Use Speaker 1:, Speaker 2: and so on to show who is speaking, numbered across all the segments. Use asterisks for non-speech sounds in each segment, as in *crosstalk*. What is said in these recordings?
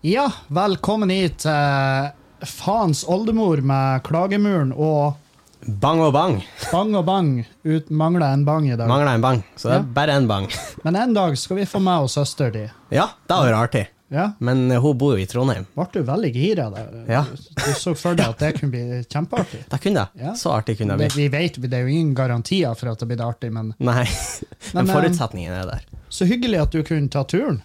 Speaker 1: Ja, velkommen hit. eh, Faens oldemor med klagemuren og
Speaker 2: Bang og bang.
Speaker 1: bang og bang. Ut, mangler en bang i dag.
Speaker 2: Mangla en bang, så det er
Speaker 1: Ja.
Speaker 2: bare en bang. *laughs*
Speaker 1: Men en dag skal vi få meg og søster di.
Speaker 2: Ja, det var artig.
Speaker 1: Ja,
Speaker 2: Men eh, hun bor jo i Trondheim.
Speaker 1: Ble du veldig gira der?
Speaker 2: Ja.
Speaker 1: Du så for deg at det kunne bli kjempeartig?
Speaker 2: Det kunne det.
Speaker 1: Ja.
Speaker 2: Så artig kunne det
Speaker 1: Det, vi
Speaker 2: bli.
Speaker 1: vet, det er jo ingen garantier for at det blir artig, men
Speaker 2: Nei,
Speaker 1: Men,
Speaker 2: *laughs* men
Speaker 1: eh,
Speaker 2: forutsetningen er der.
Speaker 1: så hyggelig at du kunne ta turen.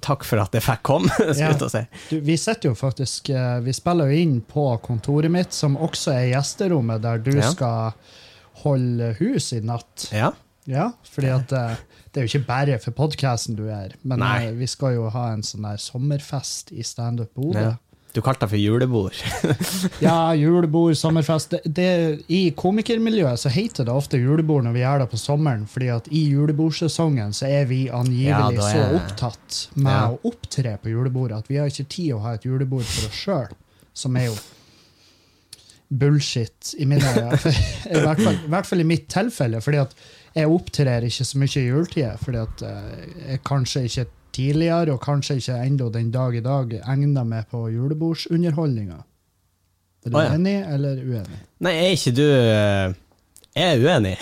Speaker 2: Takk for at jeg fikk komme, *laughs* skulle
Speaker 1: Ja.
Speaker 2: jeg til å si.
Speaker 1: Du, vi sitter jo faktisk eh, Vi spiller jo inn på kontoret mitt, som også er gjesterommet, der du
Speaker 2: Ja.
Speaker 1: skal holde hus i natt.
Speaker 2: Ja.
Speaker 1: Ja, fordi at eh, det er jo ikke bare for podkasten du er, men
Speaker 2: Nei.
Speaker 1: eh, vi skal jo ha en sånn der sommerfest i Standup Bodø.
Speaker 2: ja. Du kalte det for julebord.
Speaker 1: *laughs*
Speaker 2: *laughs*
Speaker 1: Ja, julebord, sommerfest. Det, det, I komikermiljøet så heter det ofte julebord når vi gjør det på sommeren, fordi at i julebordsesongen så er vi
Speaker 2: Ja,
Speaker 1: angivelig
Speaker 2: da
Speaker 1: så
Speaker 2: er-
Speaker 1: opptatt med
Speaker 2: Ja.
Speaker 1: å opptre på julebordet at vi har ikke tid å ha et julebord for oss sjøl, som er jo bullshit i mine øyne. *laughs* For- I hvert fall, i hvert fall i mitt tilfelle, fordi at jeg opptrer ikke så mye i juletida, fordi at eh, jeg kanskje ikke tidligere, og kanskje ikke ennå den dag i dag, egner meg på julebordsunderholdninga. Er du
Speaker 2: Å, ja.
Speaker 1: enig eller uenig?
Speaker 2: Nei, er ikke du eh, Jeg er uenig.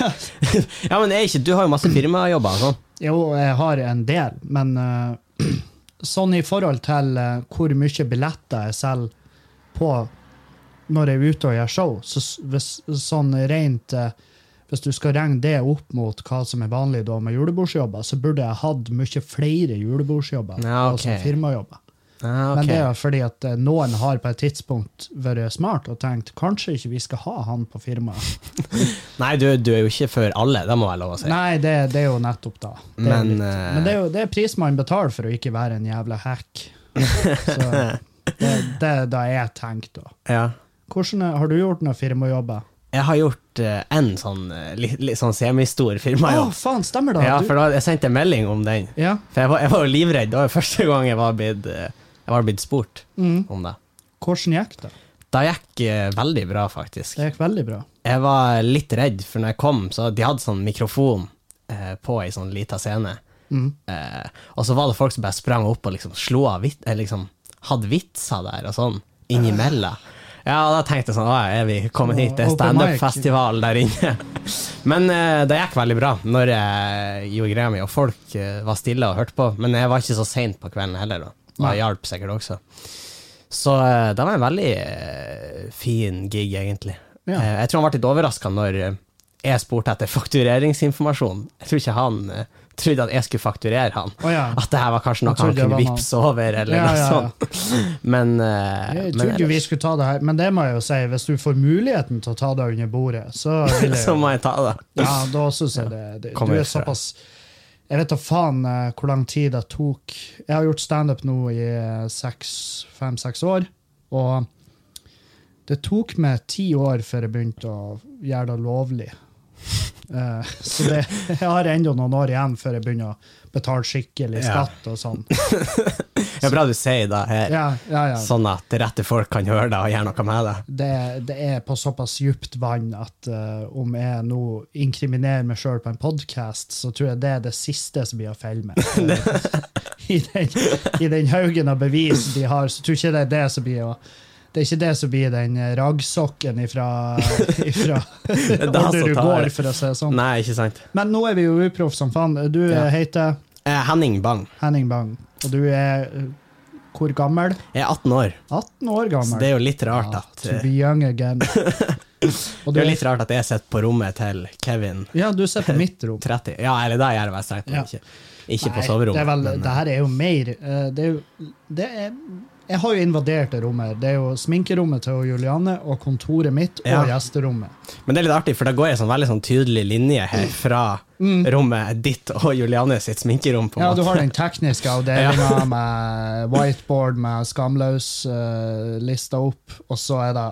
Speaker 2: *laughs* ja, men er ikke Du har jo masse firmajobber og sånn.
Speaker 1: Jo, jeg har en del, men eh, *clears throat* sånn i forhold til eh, hvor mye billetter jeg selger på når jeg er ute og gjør show, så s- hvis, sånn rent eh, Hvis du skal regne det opp mot hva som er vanlig da med julebordsjobber, så burde jeg hatt mye flere julebordsjobber
Speaker 2: Ja,
Speaker 1: og sånn
Speaker 2: ok.
Speaker 1: firmajobber.
Speaker 2: Ah, ok.
Speaker 1: Men det er jo fordi at eh, noen har på et tidspunkt vært smart og tenkt kanskje ikke vi skal ha han på firmaet.
Speaker 2: Nei, du, du er jo ikke for alle, det må jeg lov å si.
Speaker 1: Nei, det, det er jo nettopp da. Det er jo
Speaker 2: Men,
Speaker 1: litt-
Speaker 2: eh,
Speaker 1: Men det er jo det er pris man betaler for å ikke være en jævla
Speaker 2: *laughs*
Speaker 1: hack. Så det, det er da jeg tenker, da.
Speaker 2: Ja.
Speaker 1: Hvordan, er- har du gjort noen firmajobber?
Speaker 2: Jeg har gjort eh, en sånn, eh, li, li, sånn semistor
Speaker 1: Å,
Speaker 2: firmajobb.
Speaker 1: faen, stemmer det!
Speaker 2: Ja,
Speaker 1: Du-
Speaker 2: for da, jeg sendte en melding om den.
Speaker 1: ja.
Speaker 2: For jeg var, jeg var jo livredd. Det var jo første gang jeg var blitt, eh, jeg var blitt spurt
Speaker 1: Mm.
Speaker 2: om det.
Speaker 1: Hvordan gikk det?
Speaker 2: Det gikk eh, veldig bra, faktisk.
Speaker 1: Det gikk veldig bra.
Speaker 2: Jeg var litt redd, for når jeg kom, så de hadde sånn mikrofon eh, på ei sånn lita scene.
Speaker 1: Mm.
Speaker 2: Eh, og så var det folk som bare sprang opp og liksom slo av vit, eh, liksom, hadde vitser der og sånn, innimellom. Ja, og da tenkte jeg sånn, «Å, er vi kommet hit, det
Speaker 1: Open
Speaker 2: er
Speaker 1: mic.
Speaker 2: stand-up-festival der inne. *laughs* Men eh, det gikk veldig bra når jeg gjorde greia mi, og folk eh, var stille og hørte på. Men jeg var ikke så sent på kvelden heller, da. og det hjalp sikkert også. Så eh, det var en veldig eh, fin gig, egentlig.
Speaker 1: Ja.
Speaker 2: Eh, jeg tror han ble litt overraska når eh, jeg spurte etter faktureringsinformasjon. Jeg tror ikke han eh, trodde at jeg skulle fakturere han.
Speaker 1: Å ja.
Speaker 2: At det her var kanskje noe
Speaker 1: Jeg trodde
Speaker 2: han
Speaker 1: det
Speaker 2: kunne
Speaker 1: var noe-
Speaker 2: vippse over, eller
Speaker 1: Ja,
Speaker 2: noe
Speaker 1: ja, ja.
Speaker 2: sånt. *laughs* Men, eh,
Speaker 1: Jeg
Speaker 2: men
Speaker 1: trodde jo vi
Speaker 2: ellers,
Speaker 1: skulle ta det her, men det må jeg jo si, hvis du får muligheten til å ta det under bordet, så
Speaker 2: *laughs*
Speaker 1: vil jeg
Speaker 2: så
Speaker 1: jo
Speaker 2: må jeg ta det.
Speaker 1: Ja, da syns jeg det, det Du
Speaker 2: Kommer
Speaker 1: er
Speaker 2: fra.
Speaker 1: såpass Jeg vet da faen eh, hvor lang tid det tok. Jeg har gjort standup nå i eh, fem-seks år, og det tok meg ti år før jeg begynte å gjøre det
Speaker 2: *laughs*
Speaker 1: lovlig. Eh, så det, jeg har ennå noen år igjen før jeg begynner å betale skikkelig
Speaker 2: Ja.
Speaker 1: skatt og
Speaker 2: *laughs*
Speaker 1: sånn.
Speaker 2: Det er bra du sier det her,
Speaker 1: Ja, ja, ja.
Speaker 2: sånn at rette folk kan høre det og gjøre noe med det.
Speaker 1: det, det er på såpass djupt vann at eh, om jeg nå inkriminerer meg sjøl på en podkast, så tror jeg det er det siste som blir å feile
Speaker 2: *laughs*
Speaker 1: med. I den, I den haugen av bevis de har, så tror jeg ikke det er det som blir å det er ikke det som blir den eh, raggsokken ifra, ifra
Speaker 2: er det
Speaker 1: Orderud
Speaker 2: som tar-
Speaker 1: gård, for å si det sånn.
Speaker 2: Nei, ikke sant.
Speaker 1: Men nå er vi jo uproff som faen. Du eh,
Speaker 2: Ja.
Speaker 1: heter
Speaker 2: Eh, Henning Bang.
Speaker 1: Henning Bang, og du er eh, hvor gammel?
Speaker 2: Jeg er 18 år,
Speaker 1: 18 år
Speaker 2: så
Speaker 1: gammel.
Speaker 2: det er jo litt rart
Speaker 1: Ja,
Speaker 2: at eh,
Speaker 1: to be young
Speaker 2: *laughs*
Speaker 1: again. Og
Speaker 2: det er
Speaker 1: du-
Speaker 2: jo litt rart at jeg sitter på rommet til Kevin
Speaker 1: Ja, du sitter på mitt rom.
Speaker 2: 30. Ja, eller det gjør jeg vel strengt,
Speaker 1: Ja.
Speaker 2: men ikke, *laughs* ikke på
Speaker 1: Nei,
Speaker 2: soverommet.
Speaker 1: Det, er vel,
Speaker 2: men,
Speaker 1: det her er jo mer eh, det er, jo- det er, Jeg har jo invadert det rommet. her. Det er jo sminkerommet til Julianne og kontoret mitt og
Speaker 2: Ja.
Speaker 1: gjesterommet.
Speaker 2: Men det er litt artig, for da går jeg sånn veldig sånn tydelig linje
Speaker 1: Mm.
Speaker 2: her fra rommet ditt og Juliane sitt sminkerom. på en
Speaker 1: Ja,
Speaker 2: måte.
Speaker 1: du har den tekniske avdelinga med whiteboard med skamløs eh, lista opp, og så er det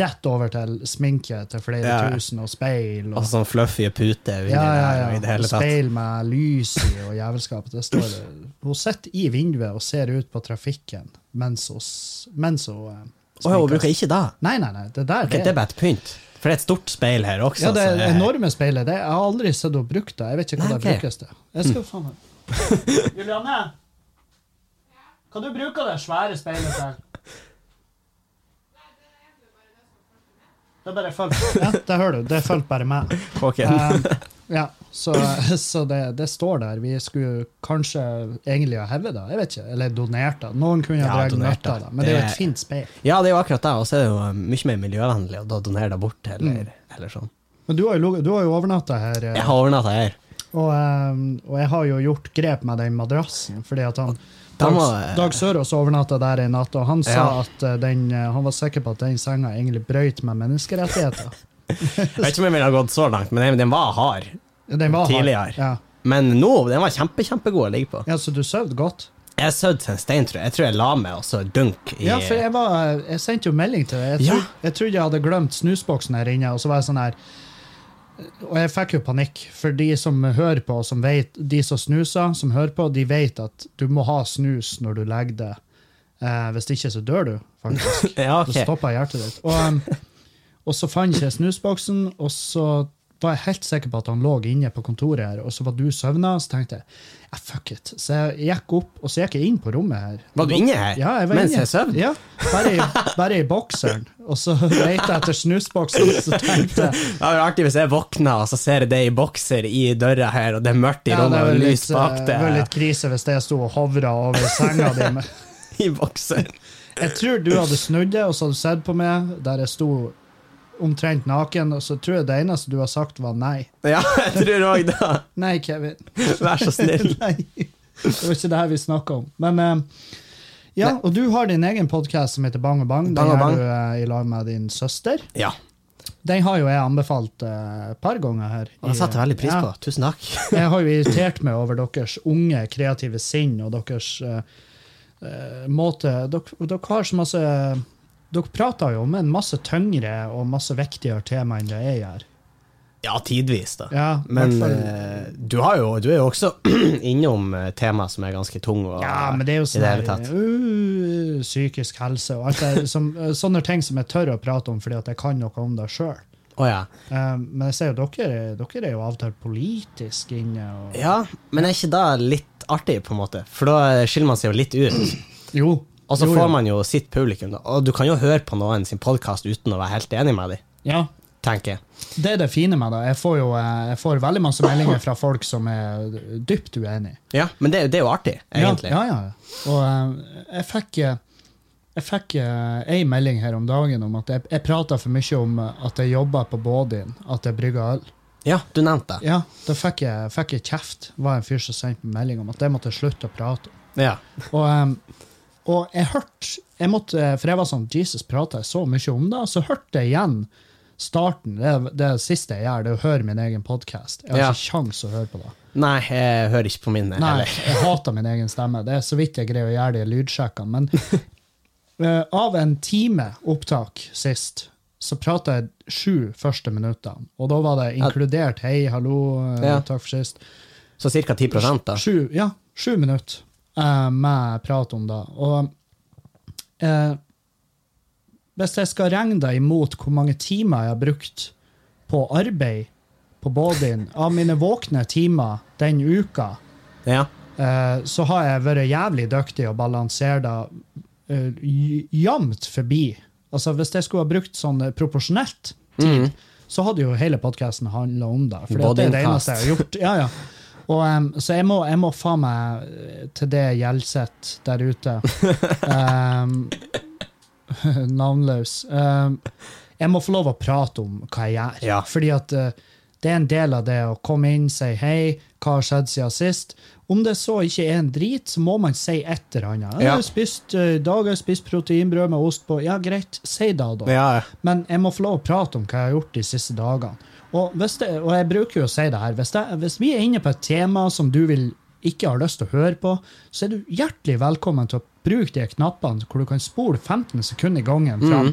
Speaker 1: rett over til sminke til flere
Speaker 2: Ja, ja.
Speaker 1: tusen, og speil.
Speaker 2: *laughs* Og
Speaker 1: Og,
Speaker 2: sånn fluffy pute under
Speaker 1: ja, ja,
Speaker 2: der, og i det
Speaker 1: ja.
Speaker 2: hele tatt.
Speaker 1: Speil med lys i og jævelskap. Det står det. Hun sitter i vinduet og ser ut på trafikken mens hun, s- mens hun eh,
Speaker 2: Å ja, hun
Speaker 1: sminker seg.
Speaker 2: bruker ikke det?
Speaker 1: Nei, nei, nei. Det der
Speaker 2: Ok, det er bare et pynt. For det er et stort speil her også.
Speaker 1: Ja, det
Speaker 2: så eh,
Speaker 1: er enorme speilet. Det, jeg har aldri sett henne brukt det. Jeg vet ikke hva
Speaker 2: Nei,
Speaker 1: det
Speaker 2: ok.
Speaker 1: brukes til. Jeg skal faen meg Julianne? Hva du bruker det svære speilet til? *laughs* Det er bare fulgt. Ja, det hører du. Det fulgte bare meg.
Speaker 2: Kåken.
Speaker 1: Um, ja, så, så det, det står der. Vi skulle kanskje egentlig ha hevet det, jeg vet ikke. Eller donert det. Noen kunne ha
Speaker 2: Ja,
Speaker 1: dratt
Speaker 2: donert
Speaker 1: nøtta av
Speaker 2: det.
Speaker 1: det, men det er jo
Speaker 2: Det-
Speaker 1: et fint speil.
Speaker 2: *laughs* Ja, det er jo akkurat det, og så er det jo eh, mye mer miljøvennlig å da donere det bort,
Speaker 1: Mm.
Speaker 2: eller, eller sånn.
Speaker 1: Men du har jo, ligget- du har jo overnatta her. eh,
Speaker 2: Jeg har ordna det
Speaker 1: *laughs*
Speaker 2: her.
Speaker 1: Og, ehm, og jeg har jo gjort grep med den madrassen, fordi at han
Speaker 2: Da
Speaker 1: Dag,
Speaker 2: må-
Speaker 1: Dag Sørås overnatta der en natt, og han sa
Speaker 2: Ja.
Speaker 1: at eh, den, eh, han var sikker på at den senga egentlig brøyt med menneskerettigheter.
Speaker 2: Jeg vet ikke om jeg ville ha gått så langt, men den- den var hard.
Speaker 1: Den var hard.
Speaker 2: Tidligere.
Speaker 1: Ja.
Speaker 2: Men nå, den var kjempe, kjempegod å ligge på.
Speaker 1: ja, så du sov godt?
Speaker 2: Jeg søvde til en stein, tror jeg. Jeg tror jeg la meg og så dunk i
Speaker 1: Ja, for jeg, var, jeg sendte jo melding til deg. Jeg,
Speaker 2: Ja.
Speaker 1: trodde- jeg trodde jeg hadde glemt snusboksen her inne, og så var jeg sånn her Og jeg fikk jo panikk, for de som hører på, og som vet, de som snuser, som hører på, de vet at du må ha snus når du legger deg. Eh, hvis ikke, så dør du, faktisk.
Speaker 2: *laughs* Ja,
Speaker 1: Så
Speaker 2: ok.
Speaker 1: stoppa hjertet ditt. Og, um, og så fant jeg snusboksen, og så var jeg helt sikker på at han lå inne på kontoret her, og så var du søvna, så tenkte jeg ja, fuck it. Så jeg gikk opp, og så gikk jeg inn på rommet her.
Speaker 2: Var du inne her?
Speaker 1: Ja, jeg var
Speaker 2: Mens
Speaker 1: inne.
Speaker 2: jeg søvde?
Speaker 1: Ja, bare, i, bare i bokseren. Og så leita jeg etter snusboksen, og så tenkte jeg
Speaker 2: Det hadde vært artig hvis jeg våkna og så ser jeg deg i bokser i døra her, og det er mørkt *laughs* i
Speaker 1: ja, det
Speaker 2: rommet
Speaker 1: var
Speaker 2: og
Speaker 1: litt,
Speaker 2: lys bak
Speaker 1: eh, det var
Speaker 2: deg.
Speaker 1: litt krise hvis jeg sto og hovra over senga di. men
Speaker 2: *laughs* I bokser.
Speaker 1: Jeg tror du hadde snudd deg, og så hadde du sett på meg der jeg sto omtrent naken, og så tror jeg det eneste du har sagt, var nei.
Speaker 2: Ja, jeg tror òg det.
Speaker 1: Nei, Kevin.
Speaker 2: Vær så *laughs* snill.
Speaker 1: Nei. Det var ikke det her vi snakka om. Men eh, ja, og du har din egen podkast som heter Bang og Bang. Den
Speaker 2: Bang og
Speaker 1: har
Speaker 2: Bang.
Speaker 1: du eh, i lag med din søster.
Speaker 2: Ja.
Speaker 1: Den har jo jeg anbefalt eh, et par ganger her.
Speaker 2: Og det satte jeg veldig pris på. Tusen takk.
Speaker 1: *laughs* Jeg har jo irritert meg over deres unge, kreative sinn og deres eh, eh, måte dere, dere har så masse Dere prater jo om en masse tyngre og masse viktigere tema enn det jeg gjør.
Speaker 2: Ja, tidvis, da.
Speaker 1: Ja, i
Speaker 2: Men
Speaker 1: hvert fall-
Speaker 2: eh, du, har jo, du er jo også *clears throat* innom eh, tema som er ganske tung. Og,
Speaker 1: Ja, men det er jo
Speaker 2: i
Speaker 1: sånn
Speaker 2: det hele
Speaker 1: her,
Speaker 2: tatt.
Speaker 1: uh, psykisk helse og alt det som, *laughs* sånne ting som jeg tør å prate om fordi at jeg kan noe om det sjøl.
Speaker 2: Å, ja.
Speaker 1: men jeg ser jo dere, dere er jo av og til politisk inne. Og,
Speaker 2: ja, men er ikke det litt artig, på en måte? For da skiller man seg jo litt ut.
Speaker 1: jo.
Speaker 2: Og så
Speaker 1: jo,
Speaker 2: Altså, får
Speaker 1: jo.
Speaker 2: man jo sitt publikum, da. Og du kan jo høre på noen sin podkast uten å være helt enig med dem,
Speaker 1: Ja,
Speaker 2: tenker jeg.
Speaker 1: det er det fine med det. Jeg får jo eh, jeg får veldig masse meldinger fra folk som er dypt uenige.
Speaker 2: Ja, men det, er jo- det er jo artig, egentlig.
Speaker 1: Ja, ja, ja. Og eh, jeg fikk eh, jeg fikk eh, ei melding her om dagen om at jeg, jeg prata for mye om eh, at jeg jobba på Bådin, at jeg brygga øl.
Speaker 2: Ja, du nevnte det.
Speaker 1: Ja, da fikk jeg, fikk jeg kjeft. var en fyr som sendte meg melding om at det måtte jeg slutte å prate om.
Speaker 2: Ja.
Speaker 1: Og, em, og jeg hørte jeg måtte, For jeg var sånn Jesus, prata jeg så mye om det? Og så hørte jeg igjen starten. Det, er- det er det siste jeg gjør, det er å høre min egen podkast. Jeg har
Speaker 2: Ja.
Speaker 1: ikke kjangs å høre på det.
Speaker 2: Nei, jeg hører ikke på min eh,
Speaker 1: Nei,
Speaker 2: heller.
Speaker 1: jeg hater min egen stemme. Det er så vidt jeg greier å gjøre de lydsjekkene. Men eh, av en time opptak sist, så prata jeg sju første minuttene. Og da var det inkludert 'hei, hallo, eh,
Speaker 2: Ja.
Speaker 1: takk for sist'.
Speaker 2: Så ca. 10 da.
Speaker 1: Sju, ja, sju minutter eh, med prat om det. Og eh, hvis jeg skal regne deg imot hvor mange timer jeg har brukt på arbeid på bodyen, av mine våkne timer den uka,
Speaker 2: Ja.
Speaker 1: eh, så har jeg vært jævlig dyktig og balansert det eh, j- jevnt forbi. Altså, hvis jeg skulle ha brukt sånn eh, proporsjonelt tid, så hadde jo hele podkasten handla om det. For det er det
Speaker 2: Bodycast.
Speaker 1: eneste jeg har gjort. Ja, ja. Og, em, så jeg må, jeg må faen meg eh, til det Gjelseth der ute em, *laughs* Navnløs. Em, jeg må få lov å prate om hva jeg gjør.
Speaker 2: Ja.
Speaker 1: Fordi at eh, det er en del av det å komme inn, si hei, hva har skjedd siden sist? Om det så ikke er en drit, så må man si et eller annet. Jeg
Speaker 2: Ja.
Speaker 1: har spist, eh, I dag har jeg spist proteinbrød med ost på. Ja, greit, si det da.
Speaker 2: Ja,
Speaker 1: Men jeg må få lov å prate om hva jeg har gjort de siste dagene. Og, hvis det, og jeg bruker jo å si det her, hvis, det, hvis vi er inne på et tema som du vil, ikke har lyst til å høre på, så er du hjertelig velkommen til å bruke de knappene hvor du kan spole 15 sekunder i gangen fram.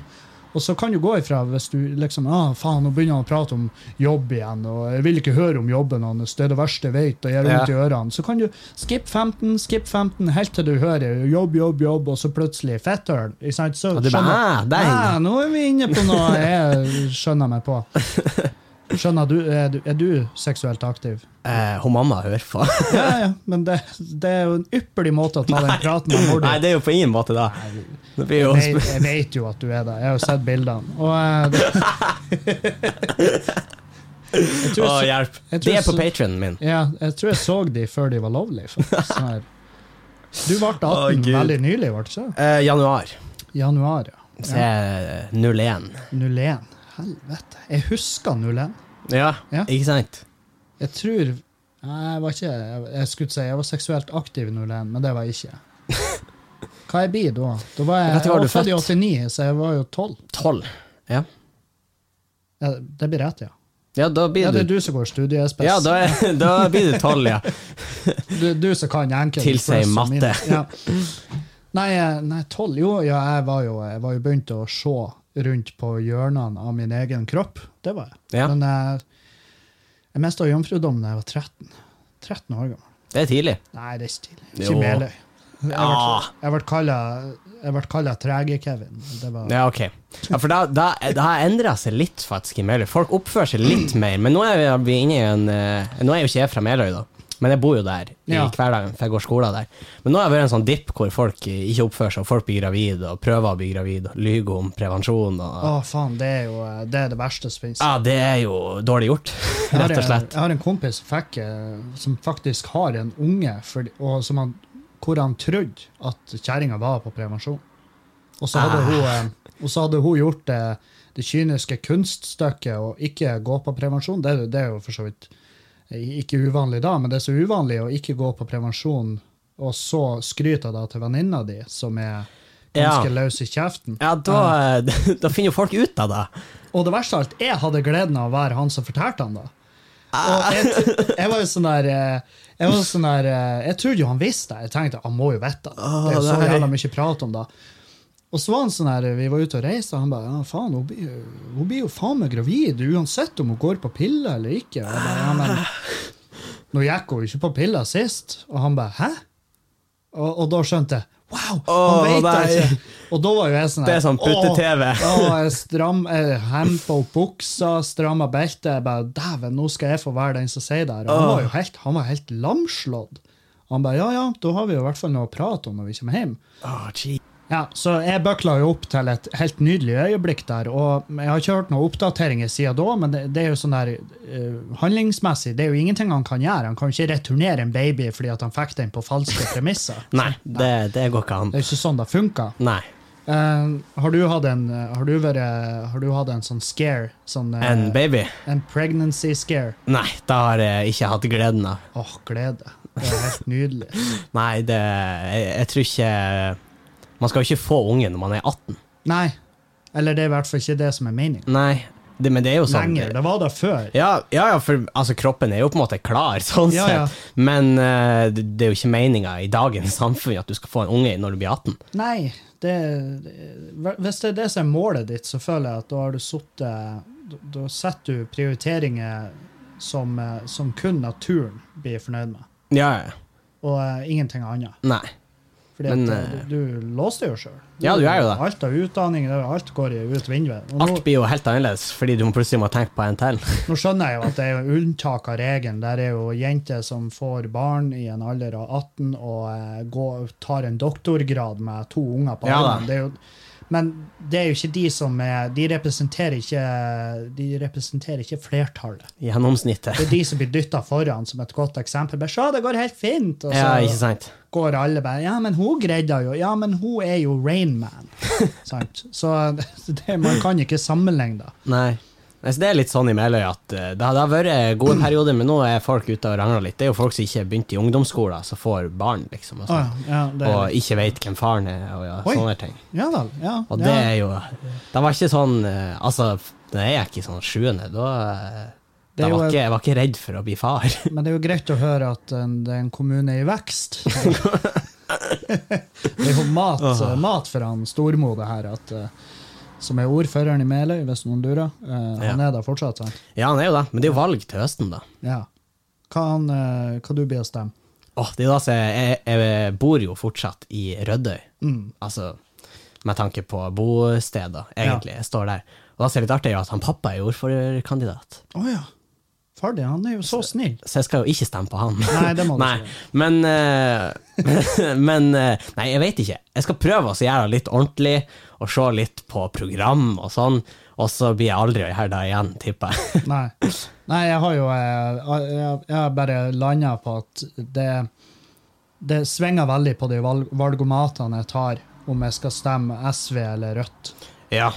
Speaker 1: Og så kan du gå ifra hvis du liksom ah, faen, nå begynner han å prate om jobb igjen, og jeg vil ikke høre om jobben hans, det er det verste jeg vet, og jeg gjør vondt i ørene. Så kan du skip 15, skip 15, helt til du hører jobb, jobb, jobb, og så plutselig fetthøl. ikke sant? Så
Speaker 2: Og du bare,
Speaker 1: skjønner-
Speaker 2: «Ah, dang!»
Speaker 1: «Ah, nå er vi inne på noe jeg skjønner meg på. Skjønner du, er du, er du seksuelt aktiv?
Speaker 2: Eh, hun mamma hører på.
Speaker 1: Ja, ja, men det, det er jo en ypperlig måte å ta den praten med mor di
Speaker 2: Nei, det er jo på ingen måte da. Det blir jo
Speaker 1: jeg, jeg vet jo at du er der. Jeg har jo sett bildene. Og, eh, det... jeg, tror
Speaker 2: Å,
Speaker 1: jeg,
Speaker 2: hjelp.
Speaker 1: jeg tror
Speaker 2: Det er
Speaker 1: jeg
Speaker 2: på
Speaker 1: så-
Speaker 2: patrionen min.
Speaker 1: så, ja, jeg tror jeg så de før de var lovlige. faktisk. Sånn her. Du ble 18
Speaker 2: Å, Gud.
Speaker 1: veldig nylig, ble du ikke?
Speaker 2: Eh, januar.
Speaker 1: Januar, ja.
Speaker 2: Så er det 01.
Speaker 1: 01. Helvete. Jeg husker 01.
Speaker 2: Ja,
Speaker 1: Ja.
Speaker 2: ikke sant?
Speaker 1: Jeg tror Nei, jeg var ikke jeg, jeg skulle si jeg var seksuelt aktiv i 01, men det var jeg
Speaker 2: *laughs*
Speaker 1: ikke. Hva jeg blir da? Da var jeg,
Speaker 2: Når
Speaker 1: jeg
Speaker 2: var du
Speaker 1: var født i 89,
Speaker 2: født?
Speaker 1: så jeg var jo 12.
Speaker 2: 12. Ja.
Speaker 1: Ja, det blir rett, ja.
Speaker 2: Ja, da blir
Speaker 1: Ja, det er
Speaker 2: du
Speaker 1: du som går studiespes.
Speaker 2: Ja, da, er, *laughs* da blir du 12, ja.
Speaker 1: Du, du som kan enkelte
Speaker 2: Tilsier
Speaker 1: spørsmål
Speaker 2: matte.
Speaker 1: mine. Ja. Nei, eh, nei, tolv Jo, ja, jeg var jo, jeg var jo begynt å se rundt på hjørnene av min egen kropp. Det var jeg.
Speaker 2: Ja.
Speaker 1: Men jeg, jeg mista jomfrudommen da jeg var 13. 13 år gammel.
Speaker 2: Det er tidlig.
Speaker 1: Nei, det er ikke tidlig.
Speaker 2: Jo. Ah.
Speaker 1: Ikke Meløy. Jeg
Speaker 2: Ja.
Speaker 1: ble- Jeg ble kallet- jeg ble kalla Trege-Kevin. Det var
Speaker 2: Ja, ok. Ja, for da, da, da har endra seg litt, faktisk, i Meløy. Folk oppfører seg litt mer. Men nå er vi inne i en eh, Nå er jo ikke jeg fra Meløy, da. Men jeg bor jo der i
Speaker 1: Ja.
Speaker 2: hverdagen, for jeg går skolen der. Men nå har det vært en sånn dipp hvor folk eh, ikke oppfører seg, og folk blir gravide, og prøver å bli gravide, og lyver om prevensjon og
Speaker 1: Å, faen, det er jo eh, det, er det verste som finnes.
Speaker 2: Ja, det er jo dårlig gjort,
Speaker 1: Jeg har-
Speaker 2: *laughs* rett og slett.
Speaker 1: Jeg har en kompis som, fikk, eh, som faktisk har en unge for, og som han, hvor han trodde at kjerringa var på prevensjon. Og så hadde,
Speaker 2: Ah.
Speaker 1: hun, eh, og så hadde hun gjort det, det kyniske kunststykket å ikke gå på prevensjon. Det, er jo- det er jo for så vidt eh, ikke uvanlig da, men det er så uvanlig å ikke gå på prevensjon, og så skryter da til venninna di, som er
Speaker 2: Ja.
Speaker 1: ganske løs i kjeften.
Speaker 2: Ja, da, eh, *laughs* da finner jo folk ut av det.
Speaker 1: Og det verste av alt, jeg hadde gleden av å være han som fortalte han det. Og jeg, jeg var jo sånn der eh, Jeg var sånn der, eh, jeg trodde jo han visste det. Jeg tenkte han må jo vite det. Det er jo så
Speaker 2: nei.
Speaker 1: jævla mye prat om det. Og så var han sånn her, vi var ute og reiste, og han bare ja, faen, hun blir, jo- hun blir jo faen meg gravid uansett om hun går på piller eller ikke. Og jeg bare, ja, men nå gikk hun jo ikke på piller sist. Og han bare hæ? Og, og da skjønte jeg wow, han
Speaker 2: Åh,
Speaker 1: vet det
Speaker 2: nei.
Speaker 1: ikke! Og da var jo jeg sånn
Speaker 2: Det er sånn putte-TV.
Speaker 1: «Åh, ja, og jeg stram, jeg hempa opp buksa, stramma beltet. Jeg bare Dæven, nå skal jeg få være den som sier det her. Og Han var jo helt, han var helt lamslått. Han bare ja, ja, da har vi jo i hvert fall noe å prate om når vi kommer hjem.
Speaker 2: Åh, gee.
Speaker 1: Ja, Så jeg bøkla jo opp til et helt nydelig øyeblikk der. Og jeg har ikke hørt noen oppdateringer siden da, men det, det er jo sånn der eh, handlingsmessig Det er jo ingenting han kan gjøre. Han kan jo ikke returnere en baby fordi at han fikk den på falske premisser.
Speaker 2: *laughs* Nei, det, det går ikke an.
Speaker 1: Det er jo ikke sånn det funker.
Speaker 2: Nei.
Speaker 1: Eh, har du hatt en eh, har du, vært, har du hatt en sånn scare? Sånn, eh,
Speaker 2: En baby?
Speaker 1: en pregnancy scare?
Speaker 2: Nei, det har jeg ikke hatt gleden av.
Speaker 1: Åh, glede. Det er helt nydelig. *laughs*
Speaker 2: Nei, det, jeg, jeg tror ikke Man skal jo ikke få unge når man er 18.
Speaker 1: Nei. Eller det er i hvert fall ikke det som er meningen.
Speaker 2: Nei, det, men det er jo sånn.
Speaker 1: Lenger. Det var det før.
Speaker 2: Ja, ja, ja, for altså, kroppen er jo på en måte klar, *laughs* sånn
Speaker 1: Ja, ja.
Speaker 2: sett. Men eh, det, det er jo ikke meninga i dagens *laughs* samfunn at du skal få en unge når du blir 18.
Speaker 1: Nei. Det, det- hvis det er det som er målet ditt, så føler jeg at da har du sittet da- Da setter du prioriteringer som, eh, som kun naturen blir fornøyd med,
Speaker 2: Ja, ja.
Speaker 1: og eh, ingenting annet.
Speaker 2: Nei.
Speaker 1: Fordi
Speaker 2: Men,
Speaker 1: at eh, du, du låste jo sjøl.
Speaker 2: Ja, du er jo det.
Speaker 1: Alt av utdanning, det er jo alt går jo ut vinduet. Og nå,
Speaker 2: Alt blir jo helt annerledes, fordi du må plutselig må tenke på en til. *laughs*
Speaker 1: nå skjønner jeg jo at det er jo unntak av regelen. Der er jo jenter som får barn i en alder av 18 og eh, går, tar en doktorgrad med to unger på
Speaker 2: Ja da.
Speaker 1: armen. Det er jo, men det er jo ikke de som er De representerer ikke, de representerer ikke flertallet.
Speaker 2: Gjennomsnittet.
Speaker 1: Det er de som blir dytta foran som et godt eksempel. Bare se, det altså- går helt fint! Og så,
Speaker 2: Ja, ikke sant?
Speaker 1: går alle bare Ja, men hun greide det jo. Ja, men hun er jo *laughs* Rainman. Sant? Så det, man kan ikke sammenligne det.
Speaker 2: Nei. Nei, så Det er litt sånn i Meløy at eh, det har, det har vært gode perioder, men nå er folk ute og rangler litt. Det er jo folk som ikke begynte i ungdomsskolen, som får barn, liksom.
Speaker 1: Å,
Speaker 2: Og, sånn.
Speaker 1: ja, det,
Speaker 2: og ikke vet hvem faren er, og ja,
Speaker 1: Oi.
Speaker 2: sånne ting.
Speaker 1: ja vel. Ja,
Speaker 2: Og det
Speaker 1: ja.
Speaker 2: er jo Det var ikke sånn eh, Altså, da jeg gikk i sånn sjuende, da eh,
Speaker 1: Det er
Speaker 2: da
Speaker 1: jo-
Speaker 2: var ikke, Jeg var ikke redd for å bli far. *laughs*
Speaker 1: Men det er jo greit å høre at en, det er en kommune i vekst.
Speaker 2: *laughs*
Speaker 1: det er jo mat, mat for han stormor, det her. At eh, som er ordføreren i Meløy, hvis noen lurer. Eh, han
Speaker 2: Ja.
Speaker 1: er der fortsatt, sant?
Speaker 2: Ja, han er jo det, men det er jo valg til høsten, da.
Speaker 1: Ja. Hva, han, eh, hva du blir å stemme?
Speaker 2: Åh, det er da så jeg, jeg, jeg bor jo fortsatt i Rødøy,
Speaker 1: Mm.
Speaker 2: altså med tanke på bosteder, egentlig. Jeg står der. Og da ser det litt artig ut at han pappa er ordførerkandidat,
Speaker 1: Å ja. Ferdig, han er jo så snill.
Speaker 2: så jeg skal jo ikke stemme på han.
Speaker 1: Nei, det må
Speaker 2: *laughs*
Speaker 1: du
Speaker 2: Nei, men eh, *laughs* Men eh, Nei, jeg vet ikke. Jeg skal prøve å gjøre det litt ordentlig, og se litt på program og sånn, og så blir jeg aldri her da igjen, tipper jeg. *laughs*
Speaker 1: Nei. Nei, jeg har jo eh, Jeg jeg har bare landa på at det Det svinger veldig på de valg valgomatene jeg tar, om jeg skal stemme SV eller Rødt.
Speaker 2: Ja,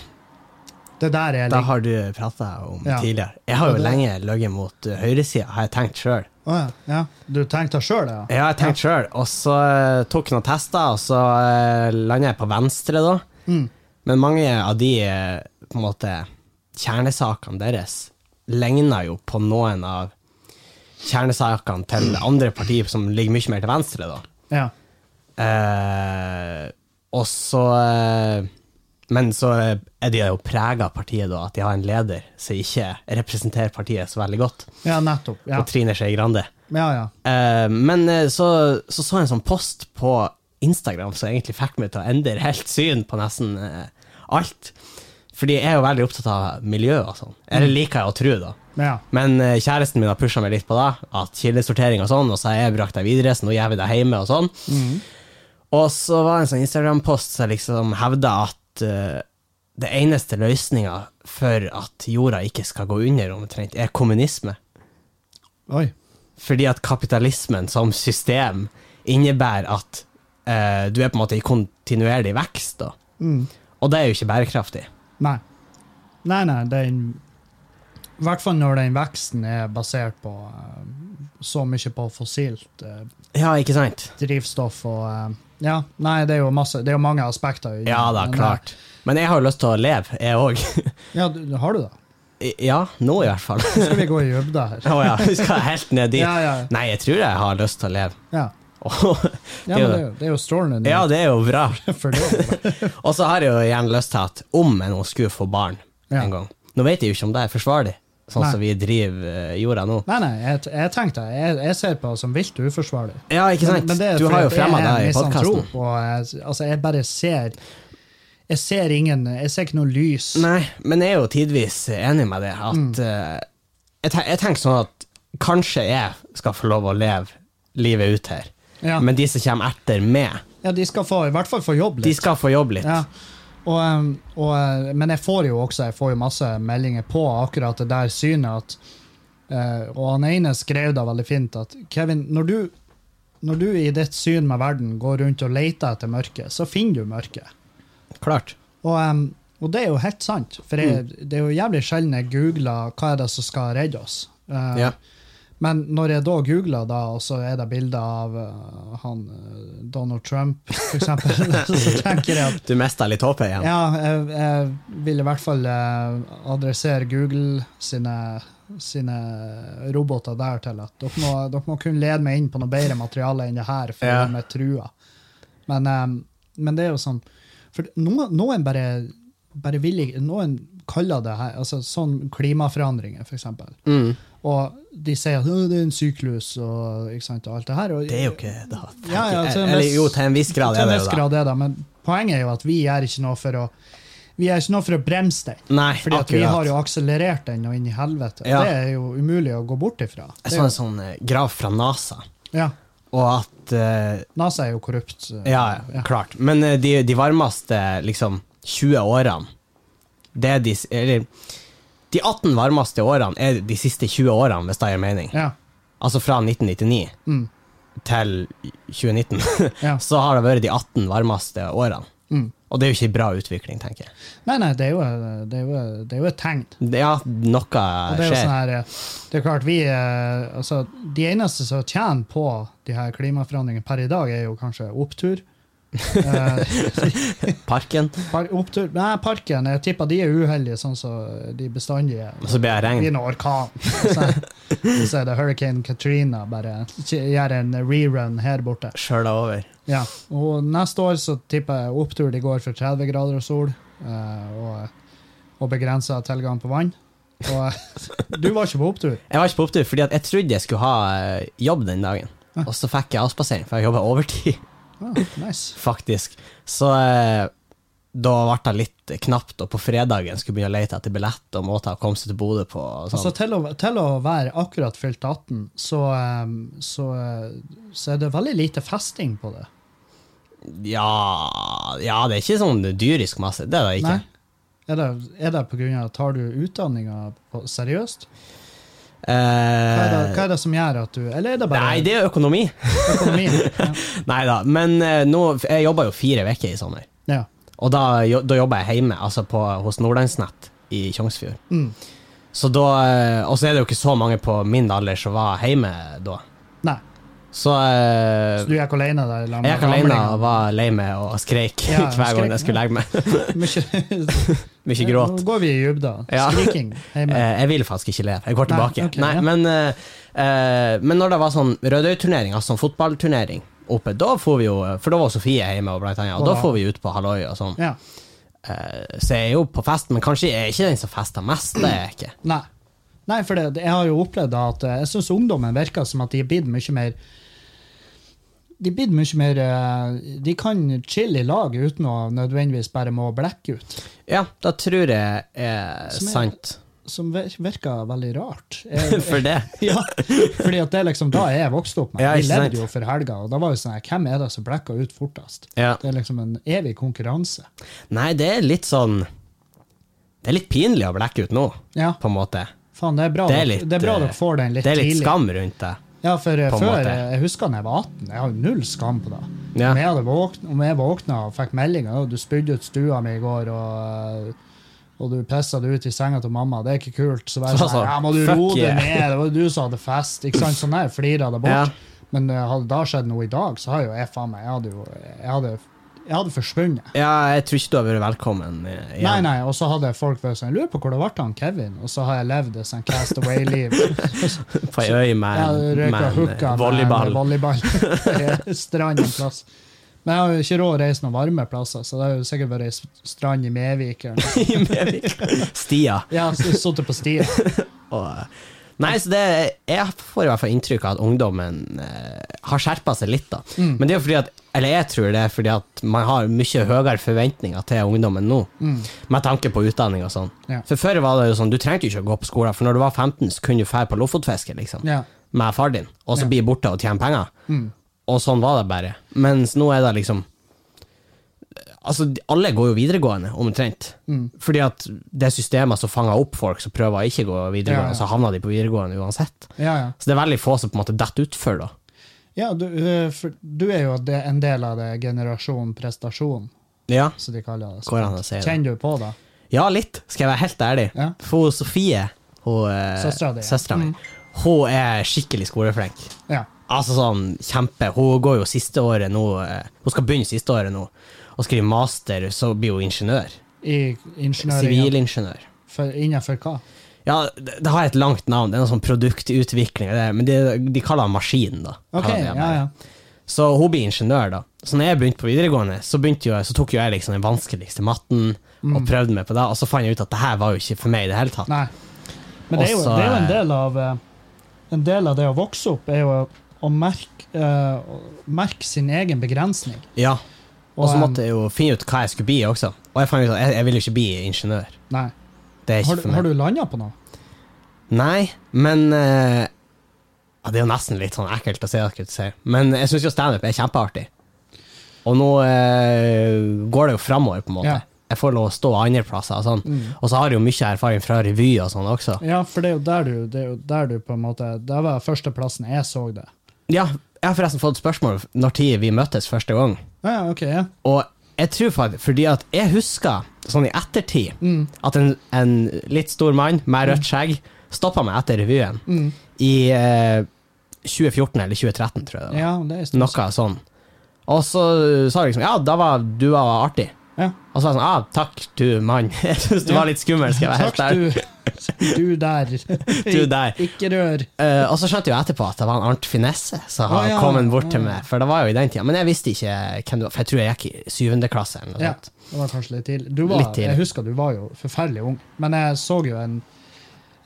Speaker 1: Det der er
Speaker 2: det
Speaker 1: litt
Speaker 2: har du prata om
Speaker 1: Ja.
Speaker 2: tidligere. Jeg har
Speaker 1: Og
Speaker 2: jo
Speaker 1: det-
Speaker 2: lenge løyet mot eh, høyresida, har jeg tenkt sjøl.
Speaker 1: Å ja. ja. Du tenkte sjøl, ja?
Speaker 2: Ja, jeg tenkte sjøl. Og så eh, tok jeg noen tester, og så landa jeg på venstre, da.
Speaker 1: Mm.
Speaker 2: Men mange av de eh, på en måte, kjernesakene deres ligna jo på noen av kjernesakene til andre partier som ligger mye mer til venstre, da.
Speaker 1: ja.
Speaker 2: Eh, og så eh, Men så er de jo prega av partiet, da, at de har en leder som ikke representerer partiet så veldig godt.
Speaker 1: Ja, nettopp. Ja,
Speaker 2: Og Trine Skei Grande.
Speaker 1: ja. ja.
Speaker 2: Eh, men eh, så, så så jeg en sånn post på Instagram som egentlig fikk meg til å endre helt syn på nesten eh, alt. Fordi jeg er jo veldig opptatt av miljø og sånn. Eller liker jeg å tro, da.
Speaker 1: ja.
Speaker 2: Men eh, kjæresten min har pusha meg litt på det, at kildesortering og sånn, og så har jeg brakt deg videre, så nå gjør vi det hjemme og sånn. Og så var det en sånn Instagram-post som liksom hevda at eh, det eneste løsninga for at jorda ikke skal gå under, omtrent, er kommunisme.
Speaker 1: Oi.
Speaker 2: Fordi at kapitalismen som system innebærer at eh, du er på en måte i kontinuerlig vekst, da.
Speaker 1: Mm.
Speaker 2: Og det er jo ikke bærekraftig.
Speaker 1: Nei. Nei, nei, den I hvert fall når den veksten er basert på eh, så mye på fossilt eh,
Speaker 2: Ja, ikke sant?
Speaker 1: drivstoff og eh, Ja, nei, det er jo, masse, det er jo mange aspekter. i-
Speaker 2: Ja da,
Speaker 1: men, eh,
Speaker 2: klart. Men jeg har jo lyst til å leve, jeg òg.
Speaker 1: *laughs* Ja, du, har du det?
Speaker 2: ja, nå i hvert fall.
Speaker 1: Nå skal vi gå i dybde her.
Speaker 2: *laughs* Å *laughs* ja, vi skal helt ned dit.
Speaker 1: Ja, ja,
Speaker 2: Nei, jeg tror jeg har lyst til å leve.
Speaker 1: *laughs* ja.
Speaker 2: Og-
Speaker 1: ja men det, er jo- det er jo strålende.
Speaker 2: ja,
Speaker 1: nyhet
Speaker 2: det er jo bra.
Speaker 1: *laughs* For det.
Speaker 2: Og så har jeg jo gjerne lyst til at om jeg nå skulle få barn
Speaker 1: Ja.
Speaker 2: en gang Nå vet jeg jo ikke om det er forsvarlig, sånn
Speaker 1: Nei.
Speaker 2: som vi driver eh, jorda nå.
Speaker 1: Nei, nei, jeg, jeg tenkte jeg, jeg ser på det som vilt uforsvarlig.
Speaker 2: Ja, ikke sant?
Speaker 1: det er
Speaker 2: du
Speaker 1: fordi
Speaker 2: har jo
Speaker 1: at jeg
Speaker 2: fremma
Speaker 1: er
Speaker 2: det i podkasten.
Speaker 1: misantrop, og jeg- Altså, jeg bare ser Jeg ser ingen Jeg ser ikke noe lys.
Speaker 2: Nei, men jeg er jo tidvis enig med det. At
Speaker 1: Mm.
Speaker 2: eh, jeg, ten- jeg tenker sånn at kanskje jeg skal få lov å leve livet ut her.
Speaker 1: Ja.
Speaker 2: Men de som kommer etter meg,
Speaker 1: Ja, de skal få, i hvert fall få jobb
Speaker 2: de
Speaker 1: litt.
Speaker 2: skal få jobbe litt.
Speaker 1: Ja. Og, um, og, uh, men jeg får jo også jeg får jo masse meldinger på akkurat det der synet at uh, Og han ene skrev da veldig fint at Kevin, når du, når du i ditt syn med verden går rundt og leter etter mørket, så finner du mørket.
Speaker 2: Klart.
Speaker 1: Og, um, og det er jo helt sant, for jeg, det er jo jævlig sjelden jeg googler hva er det som skal redde oss. Uh,
Speaker 2: Ja.
Speaker 1: Men når jeg da googler, da, og så er det bilder av uh, han uh, Donald Trump, for eksempel, *laughs* så tenker jeg at
Speaker 2: Du mista litt håpet igjen.
Speaker 1: ja, jeg, jeg vil i hvert fall eh, adressere Google sine, sine roboter der til at dere må, dere må kunne lede meg inn på noe bedre materiale enn det her før
Speaker 2: Ja.
Speaker 1: de er trua. Men, eh, men det er jo sånn For noen, noen bare, bare vil ikke Noen kaller det her altså sånn klimaforandringer, for eksempel.
Speaker 2: Mm.
Speaker 1: Og de sier at «Å, det er en syklus og ikke sant, og alt det her. Og,
Speaker 2: Det er jo ikke det. eh,
Speaker 1: Ja, ja, altså, til en
Speaker 2: Eller
Speaker 1: viss-
Speaker 2: jo, til en viss grad
Speaker 1: til
Speaker 2: er
Speaker 1: en
Speaker 2: det
Speaker 1: viss
Speaker 2: jo det.
Speaker 1: grad er det, men poenget er jo at vi gjør ikke noe for å vi gjør ikke noe for å bremse den.
Speaker 2: Nei,
Speaker 1: Fordi at vi
Speaker 2: akkurat.
Speaker 1: har jo akselerert den og inn i helvete.
Speaker 2: Ja.
Speaker 1: Det er jo umulig å gå bort ifra. Det
Speaker 2: Jeg
Speaker 1: er
Speaker 2: så
Speaker 1: jo,
Speaker 2: en sånn eh, graf fra NASA,
Speaker 1: ja.
Speaker 2: og at eh,
Speaker 1: NASA er jo korrupt.
Speaker 2: Ja, ja, klart. Men eh, de, de varmeste liksom, 20 årene Det er de s- Eller de 18 varmeste årene er de siste 20 årene, hvis det gir mening.
Speaker 1: Ja.
Speaker 2: Altså fra 1999
Speaker 1: Mm.
Speaker 2: til *laughs* 2019.
Speaker 1: Ja.
Speaker 2: Så har det vært de 18 varmeste årene.
Speaker 1: Mm.
Speaker 2: Og det er jo ikke en bra utvikling, tenker jeg.
Speaker 1: Nei, nei, det er jo, det er jo, det er jo et tegn.
Speaker 2: Det- Ja, noe
Speaker 1: Og det er jo sånn
Speaker 2: skjer.
Speaker 1: her, eh, det er klart vi, eh,
Speaker 2: *laughs*
Speaker 1: altså, De eneste som tjener på de her klimaforandringene per i dag, er jo kanskje opptur Eh,
Speaker 2: Parken.
Speaker 1: par, opptur Nei, parken. Jeg tipper de er uheldige, sånn som de bestandig er.
Speaker 2: Og så blir jeg
Speaker 1: Blir det
Speaker 2: regn.
Speaker 1: orkan. Så, så er det Hurricane Katrina. Bare gjør en rerun her borte.
Speaker 2: Sjøla over.
Speaker 1: Ja, og neste år så tipper jeg opptur de går for 30 grader og sol, eh, og, og begrensa tilgang på vann. Og *laughs* du var ikke på opptur.
Speaker 2: Jeg var ikke på opptur fordi at jeg trodde jeg skulle ha eh, jobb den dagen. Og så fikk jeg avspasering, for jeg jobba overtid,
Speaker 1: Ah, nice.
Speaker 2: faktisk. Så eh, da ble det litt knapt, og på fredagen skulle jeg begynne å lete etter billett og måter å komme seg til Bodø på. Og sånn.
Speaker 1: Altså, til å, til å være akkurat fylt 18, så, eh, så, eh, så er det veldig lite festing på det.
Speaker 2: ja, ja, det er ikke sånn dyrisk masse. Det er det ikke.
Speaker 1: Nei? Er det, er det på grunn av Tar du utdanninga på- seriøst? Hva er, det,
Speaker 2: Eh,
Speaker 1: hva er det som gjør at du Eller er det bare
Speaker 2: nei, det er økonomi. *laughs*
Speaker 1: økonomien?
Speaker 2: Nei da. Men eh, nå, jeg jobba jo fire uker i sommer.
Speaker 1: Ja.
Speaker 2: Og da, jo- da jobba jeg hjemme, altså på, hos Nordlandsnett i Tjongsfjord.
Speaker 1: Mm.
Speaker 2: Så da, eh, og så er det jo ikke så mange på min alder som var hjemme da.
Speaker 1: Nei.
Speaker 2: Så eh,
Speaker 1: Så du gikk alene der? i lag med
Speaker 2: jeg gikk alene
Speaker 1: gamlingene?
Speaker 2: og
Speaker 1: *laughs*
Speaker 2: var lei meg og skreik
Speaker 1: liksom. Ja,
Speaker 2: *laughs* hver gang
Speaker 1: skreik,
Speaker 2: jeg skulle legge meg. *laughs*
Speaker 1: Mykje-
Speaker 2: Mye gråt.
Speaker 1: Nå går vi i dybda.
Speaker 2: Ja.
Speaker 1: Skriking. hjemme.
Speaker 2: Eh, jeg vil faktisk ikke le. Jeg går
Speaker 1: Nei,
Speaker 2: tilbake. Nei,
Speaker 1: ok, ja.
Speaker 2: men, eh, eh, men når det var sånn Rødøy-turnering, altså sånn fotballturnering oppe, da får vi jo For da var Sofie hjemme, og blant annet, og da
Speaker 1: Wow.
Speaker 2: får vi ut på Halloi og sånn.
Speaker 1: Ja.
Speaker 2: Eh, så jeg er jo på fest, men kanskje jeg er ikke den som fester mest. Det er jeg ikke.
Speaker 1: Nei. Nei, for det, jeg har jo opplevd da at eh, jeg syns ungdommen virker som at de er blitt mye mer De er blitt mye mer eh, De kan chille i lag uten å nødvendigvis bare må blekke ut.
Speaker 2: Ja, da tror jeg er
Speaker 1: Som er-
Speaker 2: sant. *laughs*
Speaker 1: Som vir- virker veldig rart. Jeg,
Speaker 2: For det.
Speaker 1: *laughs* ja, fordi at det er liksom da jeg vokste opp. med.
Speaker 2: Ja,
Speaker 1: Vi
Speaker 2: ikke sant.
Speaker 1: levde jo for helga, og da var jo sånn her, Hvem er det som blekker ut fortest?
Speaker 2: Ja.
Speaker 1: Det er liksom en evig konkurranse.
Speaker 2: Nei, det er litt sånn Det er litt pinlig å blekke ut nå,
Speaker 1: Ja,
Speaker 2: på en måte.
Speaker 1: faen, det er bra,
Speaker 2: Det er
Speaker 1: dere-
Speaker 2: litt,
Speaker 1: det er bra
Speaker 2: eh,
Speaker 1: dere får den litt,
Speaker 2: Det er litt
Speaker 1: tidlig.
Speaker 2: skam rundt det.
Speaker 1: Ja, for eh,
Speaker 2: På en
Speaker 1: før,
Speaker 2: måte.
Speaker 1: eh, jeg husker da jeg var 18, jeg har null skam på det.
Speaker 2: Ja.
Speaker 1: Om, jeg hadde våkn, om jeg våkna og fikk meldinger, og du spydde ut stua mi i går, og, eh, og du pissa det ut i senga til mamma, det er ikke kult, så var jeg
Speaker 2: Så
Speaker 1: sånn,
Speaker 2: altså,
Speaker 1: ja, må du
Speaker 2: fuck
Speaker 1: roe
Speaker 2: yeah.
Speaker 1: deg ned, det var jo du som hadde fest, ikke sant, sånn der, flirer jeg det
Speaker 2: Ja.
Speaker 1: bort. Men eh, hadde da skjedd noe i dag, så har jo jeg faen meg, jeg hadde jo, jeg hadde, jeg hadde forsvunnet.
Speaker 2: ja, jeg tror ikke du har vært velkommen eh, igjen.
Speaker 1: Nei, nei, og så hadde folk vært sånn, lurer på hvor det ble han Kevin, og så har jeg levd et sånn castaway-liv.
Speaker 2: På ei øy med
Speaker 1: Ja,
Speaker 2: en-
Speaker 1: røyka
Speaker 2: med en
Speaker 1: hooka
Speaker 2: eh,
Speaker 1: med
Speaker 2: volleyball.
Speaker 1: volleyball. strand en plass. Men jeg har jo ikke råd å reise noen varme plasser, så det har jo sikkert vært ei s- strand i Mevik. eller noe.
Speaker 2: *laughs* i Mevik. Stia.
Speaker 1: Ja, så sittet på stien.
Speaker 2: Og, eh, nei, så det, jeg får i hvert fall inntrykk av at ungdommen eh, har skjerpa seg litt. da.
Speaker 1: Mm.
Speaker 2: Men det er jo fordi at, eller jeg tror det er fordi at man har mye høyere forventninger til ungdommen nå, med tanke på utdanning og sånn.
Speaker 1: Mm. Ja.
Speaker 2: For Før var det jo sånn, du trengte jo ikke å gå på skolen, for når du var 15, så kunne du dra på lofotfiske liksom,
Speaker 1: Ja.
Speaker 2: med far din, og så bli borte og tjene penger.
Speaker 1: Mm.
Speaker 2: Og sånn var det bare. Mens nå er det liksom Altså, alle går jo videregående, omtrent.
Speaker 1: Mm.
Speaker 2: Fordi at det er systemer som fanger opp folk som prøver å ikke gå videregående,
Speaker 1: Ja, ja.
Speaker 2: så havner de på videregående uansett.
Speaker 1: Ja, ja.
Speaker 2: Så det er veldig få som på en måte detter utfor, da.
Speaker 1: ja du, eh, for du er jo de- en del av det generasjon prestasjon,
Speaker 2: Ja.
Speaker 1: som de kaller det.
Speaker 2: Går an å si det.
Speaker 1: Kjenner du på det?
Speaker 2: ja, litt, skal jeg være helt ærlig.
Speaker 1: Ja.
Speaker 2: For hun Sofie, hun eh,
Speaker 1: Søstera di, ja. Mm.
Speaker 2: søstera mi, hun er skikkelig skoleflink.
Speaker 1: Ja.
Speaker 2: Altså sånn kjempe. Hun går jo siste året nå, eh, hun skal begynne siste året nå, og skrive master, så blir hun ingeniør.
Speaker 1: I ingeniøring.
Speaker 2: Sivilingeniør.
Speaker 1: For, innenfor hva?
Speaker 2: Ja, det, det har et langt navn, det er noe sånn produktutvikling, det, men de, de kaller det maskin, da.
Speaker 1: Ok,
Speaker 2: Kaller de
Speaker 1: ja,
Speaker 2: det.
Speaker 1: ja.
Speaker 2: Så hun blir ingeniør, da. Så når jeg begynte på videregående, så, begynte jo, så tok jo jeg liksom den vanskeligste matten,
Speaker 1: Mm.
Speaker 2: og prøvde meg på det, og så fant jeg ut at det her var jo ikke for meg i det hele tatt.
Speaker 1: Nei. Men det er jo,
Speaker 2: Også,
Speaker 1: det er jo en
Speaker 2: eh,
Speaker 1: del av eh, En del av det å vokse opp er jo å merke, eh, å merke sin egen begrensning.
Speaker 2: Ja, og så
Speaker 1: eh,
Speaker 2: måtte jeg jo finne ut hva jeg skulle bli også. Og jeg fant ut at jeg, jeg vil jo ikke bli ingeniør.
Speaker 1: Nei.
Speaker 2: Det er ikke
Speaker 1: Har, du-
Speaker 2: for meg.
Speaker 1: har du landa på noe?
Speaker 2: Nei, men eh, ja, Det er jo nesten litt sånn ekkelt å si akkurat si. Men jeg syns jo standup er kjempeartig. Og nå eh, går det jo framover, på en måte.
Speaker 1: Ja. Mm.
Speaker 2: Jeg får lov å stå andre plasser og sånn. Og så har jeg jo mye erfaring fra revy og sånn også.
Speaker 1: Ja, for det er jo der du, det er jo der du på en måte Det var førsteplassen jeg så det.
Speaker 2: Ja, jeg har forresten fått spørsmål når tid vi møttes første gang.
Speaker 1: Ja, ja, ok, ja.
Speaker 2: Og jeg tror faktisk Fordi at jeg husker, sånn i ettertid,
Speaker 1: Mm.
Speaker 2: at en, en litt stor mann med rødt skjegg stoppa meg etter revyen
Speaker 1: Mm.
Speaker 2: i eh, 2014 eller 2013, tror jeg det var.
Speaker 1: ja det er en stund
Speaker 2: Noe sånn. Og så sa jeg liksom Ja, da var du var artig.
Speaker 1: Ja.
Speaker 2: Og så var jeg sånn ah, Takk, du mann. *laughs* Jeg syns du
Speaker 1: Ja.
Speaker 2: var litt skummel, skal jeg være helt ærlig.
Speaker 1: du, *laughs* du der.
Speaker 2: Du der.
Speaker 1: Ikke rør.
Speaker 2: Eh, og så skjønte jeg jo etterpå at det var en Arnt Finesse som
Speaker 1: Å,
Speaker 2: hadde
Speaker 1: ja. Mm.
Speaker 2: kommet bort
Speaker 1: Ja.
Speaker 2: til meg. For det var jo i den tida. Men jeg visste ikke hvem du var, for jeg tror jeg gikk i syvende klasse. Eller noe
Speaker 1: Ja,
Speaker 2: sånt.
Speaker 1: det var kanskje litt tidlig. Du var,
Speaker 2: Litt tidlig.
Speaker 1: Jeg husker du var jo forferdelig ung, men jeg så jo en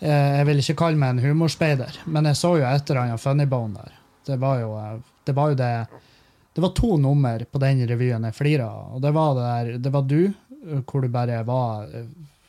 Speaker 1: eh, Jeg vil ikke kalle meg en humorspeider, men jeg så jo et eller annet funny bone der. Det var jo eh, det var jo det Det var to nummer på den revyen jeg flira av, og det var det der Det var du, eh, hvor du bare var eh,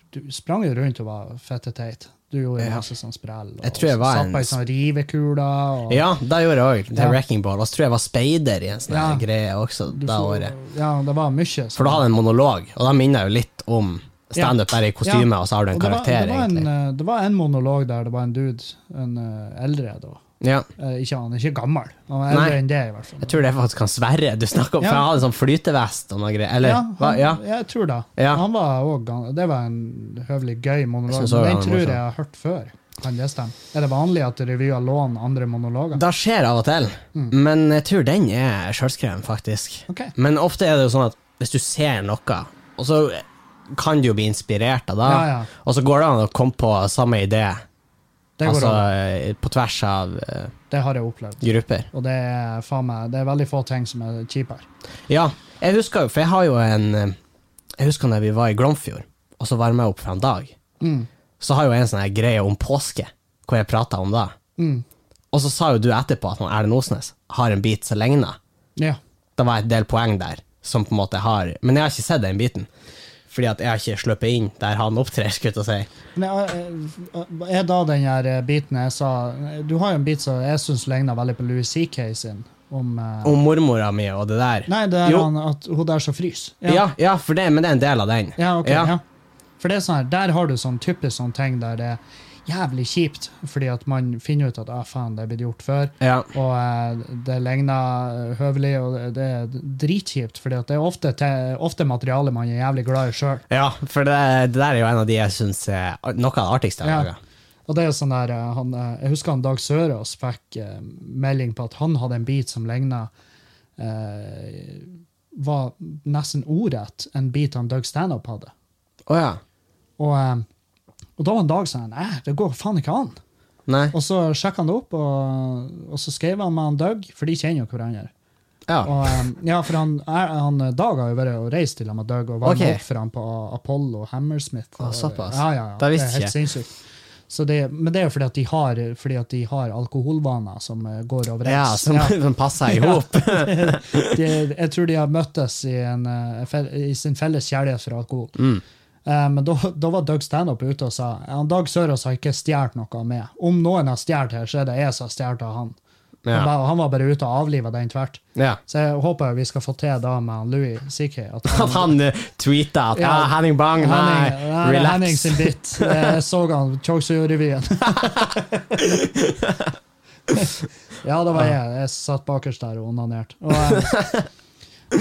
Speaker 1: Du sprang jo rundt og var fetteteit. Du gjorde
Speaker 2: Ja.
Speaker 1: masse sånn sprell. Og
Speaker 2: Jeg tror jeg var
Speaker 1: satt
Speaker 2: en
Speaker 1: på ei sånn rivekule. Og,
Speaker 2: Ja, da gjorde jeg òg. Det
Speaker 1: Ja.
Speaker 2: Wrecking Ball. Og så tror jeg jeg var speider i en sånn
Speaker 1: Ja.
Speaker 2: her greie også
Speaker 1: du
Speaker 2: da
Speaker 1: får-
Speaker 2: året.
Speaker 1: Ja, det var mye. sånn.
Speaker 2: For da hadde jeg en monolog, og da minner jeg jo litt om standup bare i kostyme, og så har du en
Speaker 1: Og det var-
Speaker 2: karakter,
Speaker 1: det var en,
Speaker 2: egentlig.
Speaker 1: eh, Det var en monolog der det var en dude, en eh, eldre da.
Speaker 2: Ja.
Speaker 1: Eh, Ikke han, ikke gammel. Han var eldre
Speaker 2: Nei.
Speaker 1: enn det, i hvert fall.
Speaker 2: Jeg tror det er faktisk han Sverre du snakker om,
Speaker 1: Ja.
Speaker 2: for han hadde sånn flytevest og noe greier. Eller,
Speaker 1: ja,
Speaker 2: hva?
Speaker 1: han,
Speaker 2: ja.
Speaker 1: Jeg tror det.
Speaker 2: Ja.
Speaker 1: Han var også, gan- det var en høvelig gøy monolog.
Speaker 2: Jeg synes
Speaker 1: men
Speaker 2: også
Speaker 1: Den
Speaker 2: han var
Speaker 1: tror jeg
Speaker 2: morsom.
Speaker 1: jeg har hørt før. Kan det stemme? Er det vanlig at revyer låner andre monologer?
Speaker 2: Det skjer av og til,
Speaker 1: Mm.
Speaker 2: men jeg tror den er sjølskreven, faktisk.
Speaker 1: Ok.
Speaker 2: Men ofte er det jo sånn at hvis du ser noe, og så kan du jo bli inspirert av det,
Speaker 1: Ja, ja.
Speaker 2: og så går det an å komme på samme idé,
Speaker 1: Det, går
Speaker 2: altså
Speaker 1: over.
Speaker 2: eh, på tvers av eh,
Speaker 1: det har jeg opplevd.
Speaker 2: grupper.
Speaker 1: Og det er, faen meg, det er veldig få ting som er kjipere.
Speaker 2: Ja, jeg husker jo, for jeg har jo en eh, Jeg husker når vi var i Glomfjord, og så varma jeg opp for en dag.
Speaker 1: Mm.
Speaker 2: Så har jo jeg en sånn her greie om påske, hvor jeg prata om det.
Speaker 1: Mm.
Speaker 2: Og så sa jo du etterpå at han Erlend Osnes har en bit som ligner.
Speaker 1: Ja.
Speaker 2: Det var et del poeng der, som på en måte har Men jeg har ikke sett den biten. Fordi at jeg har ikke sluppet inn der han opptrer, skulle jeg til å si.
Speaker 1: Men eh, er da den her eh, biten jeg sa eh, Du har jo en bit som jeg syns ligner veldig på Louis C.K. sin. Om, eh,
Speaker 2: Om mormora mi og det der.
Speaker 1: Nei, det er
Speaker 2: Jo.
Speaker 1: han, at hun der som fryser.
Speaker 2: Ja, ja, for det, men det er en del av den.
Speaker 1: Ja, ok.
Speaker 2: Ja.
Speaker 1: Ja. For det er sånn her, der har du sånn typisk sånn ting der det er jævlig kjipt, fordi at man finner ut at ah, faen, det er blitt gjort før,
Speaker 2: Ja.
Speaker 1: og eh, det ligner eh, høvelig, og det- det er dritkjipt, fordi at det er ofte, te, ofte materiale man er jævlig glad i sjøl.
Speaker 2: Ja, for det, det der er jo en av de jeg syns er noe av det artigste jeg har
Speaker 1: Ja.
Speaker 2: laga.
Speaker 1: Og det er sånn der, eh, han, eh, Jeg husker han Dag Sørås fikk eh, melding på at han hadde en bit som ligna eh, Var nesten ordrett en bit han Doug Stanhope hadde.
Speaker 2: Å ja.
Speaker 1: Og, eh, og da var en dag sånn Nei, det går faen ikke an.
Speaker 2: Nei.
Speaker 1: Og så sjekka han det opp, og, og så skrev han med han Doug, for de kjenner jo hverandre.
Speaker 2: Ja.
Speaker 1: Og, eh, ja, for han, er, han eh, Dag har jo vært og reist til ham med Doug og var
Speaker 2: Ok.
Speaker 1: med for ham på Apollo og Hammersmith.
Speaker 2: Å, såpass.
Speaker 1: Ja, ja, ja.
Speaker 2: Da
Speaker 1: Det
Speaker 2: visste
Speaker 1: er helt sinnssykt. Så det, men det er jo fordi at de har, fordi at de har alkoholvaner som eh, går
Speaker 2: Ja,
Speaker 1: overens.
Speaker 2: som, *laughs* som
Speaker 1: *laughs*
Speaker 2: passer i hop.
Speaker 1: de, jeg tror de har møttes i, en, eh, fel- i sin felles kjærlighet for alkohol.
Speaker 2: Mm.
Speaker 1: Eh, men da, da var Doug Stanhope ute og sa han Dag Sørås har ikke stjålet noe av meg. Om noen har stjålet her, så er det jeg som har stjålet av han. Han,
Speaker 2: Ja.
Speaker 1: var, han var bare ute og avliva den tvert.
Speaker 2: Ja.
Speaker 1: Så jeg håper vi skal få til da med han Louis CK. *laughs* At
Speaker 2: *laughs* At han eh, tweeta at
Speaker 1: Ja.
Speaker 2: ah, Henning Bang, nei,
Speaker 1: Henning, nei, det er Henning
Speaker 2: relax.
Speaker 1: sin bit. Eh, Jeg så han *laughs* Chokesio-revyen. ja, det var jeg. Jeg satt bakerst der og onanerte. Og, *laughs* eh,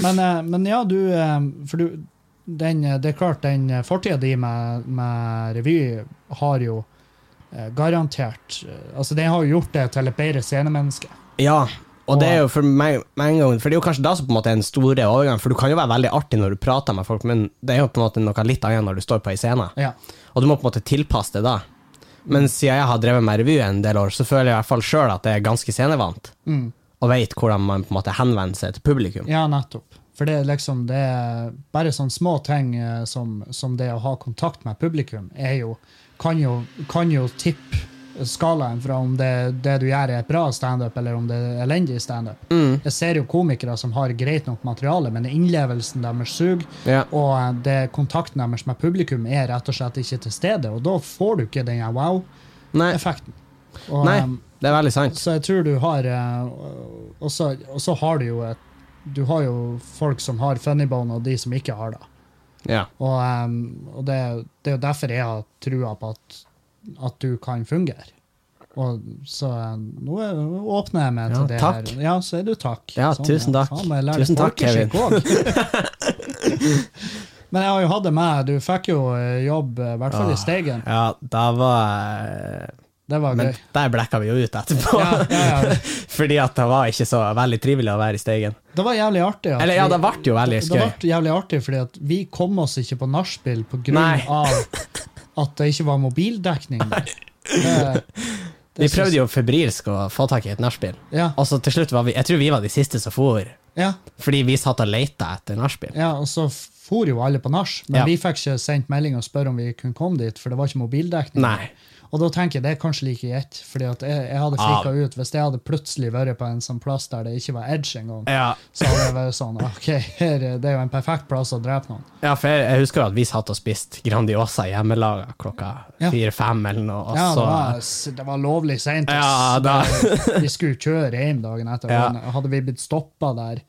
Speaker 1: Men, eh, men ja, du eh, For du den, eh, Det er klart, den fortida di med, med revy har jo eh, garantert eh, Altså, den har jo gjort deg til et bedre scenemenneske.
Speaker 2: Ja, og det er jo for meg, meg en gang, for det er jo kanskje da som på en måte er den store overgangen, for du kan jo være veldig artig når du prater med folk, men det er jo på en måte noe litt annet når du står på ei scene,
Speaker 1: Ja.
Speaker 2: og du må på en måte tilpasse det da. Men siden jeg har drevet med revy en del år, så føler jeg i hvert fall sjøl at jeg er ganske scenevant,
Speaker 1: Mm.
Speaker 2: og veit hvordan man på en måte henvender seg til publikum.
Speaker 1: Ja, nettopp. For det er liksom det er Bare sånne små ting eh, som, som det å ha kontakt med publikum er jo Kan jo, kan jo tippe skalaen fra om det, det du gjør, er bra standup, eller om det er elendig standup.
Speaker 2: Mm,
Speaker 1: Jeg ser jo komikere som har greit nok materiale, men innlevelsen deres suger,
Speaker 2: ja.
Speaker 1: og eh, det kontakten deres med publikum er rett og slett ikke til stede, og da får du ikke den her
Speaker 2: Nei,
Speaker 1: wow-effekten. Og,
Speaker 2: Nei.
Speaker 1: eh,
Speaker 2: det er veldig sant.
Speaker 1: så jeg tror du har eh, Og så og så har du jo et Du har jo folk som har funnybone, og de som ikke har det.
Speaker 2: Ja.
Speaker 1: Og, eh, og det, det er jo derfor jeg har trua på at, at du kan fungere. Og så eh, nå er- nå åpner jeg meg
Speaker 2: Ja,
Speaker 1: til det
Speaker 2: takk.
Speaker 1: her. Ja, så er du takk. Sånn,
Speaker 2: Ja, tusen takk.
Speaker 1: Faen, jeg lærer
Speaker 2: Tusen takk,
Speaker 1: folkeskikk
Speaker 2: *laughs*
Speaker 1: også. Men jeg har jo hatt det med. Du fikk jo eh, jobb, eh, i hvert fall
Speaker 2: Ah.
Speaker 1: i Steigen.
Speaker 2: Ja, da var eh,
Speaker 1: Det var
Speaker 2: Men
Speaker 1: gøy.
Speaker 2: der blekka vi jo ut etterpå,
Speaker 1: Ja, ja, ja.
Speaker 2: *laughs* fordi at det var ikke så veldig trivelig å være i Steigen.
Speaker 1: Det var jævlig artig. at
Speaker 2: Eller ja,
Speaker 1: vi-
Speaker 2: det ble jo veldig
Speaker 1: Det
Speaker 2: skøy.
Speaker 1: ble jævlig artig, fordi at vi kom oss ikke på nachspiel
Speaker 2: Nei.
Speaker 1: pga. at det ikke var mobildekning
Speaker 2: *laughs*
Speaker 1: der. Det- det
Speaker 2: Vi
Speaker 1: syns-
Speaker 2: prøvde jo febrilsk å få tak i et nachspiel,
Speaker 1: Ja,
Speaker 2: og så til slutt var vi Jeg tror vi var de siste som for,
Speaker 1: ja,
Speaker 2: fordi vi satt og leita etter nachspiel.
Speaker 1: ja, og så for jo alle på nach, men
Speaker 2: Ja.
Speaker 1: vi fikk ikke sendt melding og spørre om vi kunne komme dit, for det var ikke mobildekning.
Speaker 2: Nei.
Speaker 1: Og da tenker jeg det er kanskje like greit, fordi at jeg, jeg hadde
Speaker 2: Ja.
Speaker 1: frika ut hvis jeg hadde plutselig vært på en sånn plass der det ikke var edge engang.
Speaker 2: Ja,
Speaker 1: Så hadde jeg vært sånn OK, her, er- det er jo en perfekt plass å drepe noen.
Speaker 2: ja for jeg, jeg husker jo at vi satt og spiste Grandiosa hjemmelaga klokka
Speaker 1: Ja.
Speaker 2: fire-fem eller noe, og
Speaker 1: Ja, det
Speaker 2: så
Speaker 1: var, det var lovlig seint.
Speaker 2: Altså. Ja, da.
Speaker 1: *laughs* vi skulle kjøre hjem dagen etter.
Speaker 2: Ja.
Speaker 1: og Hadde vi blitt stoppa der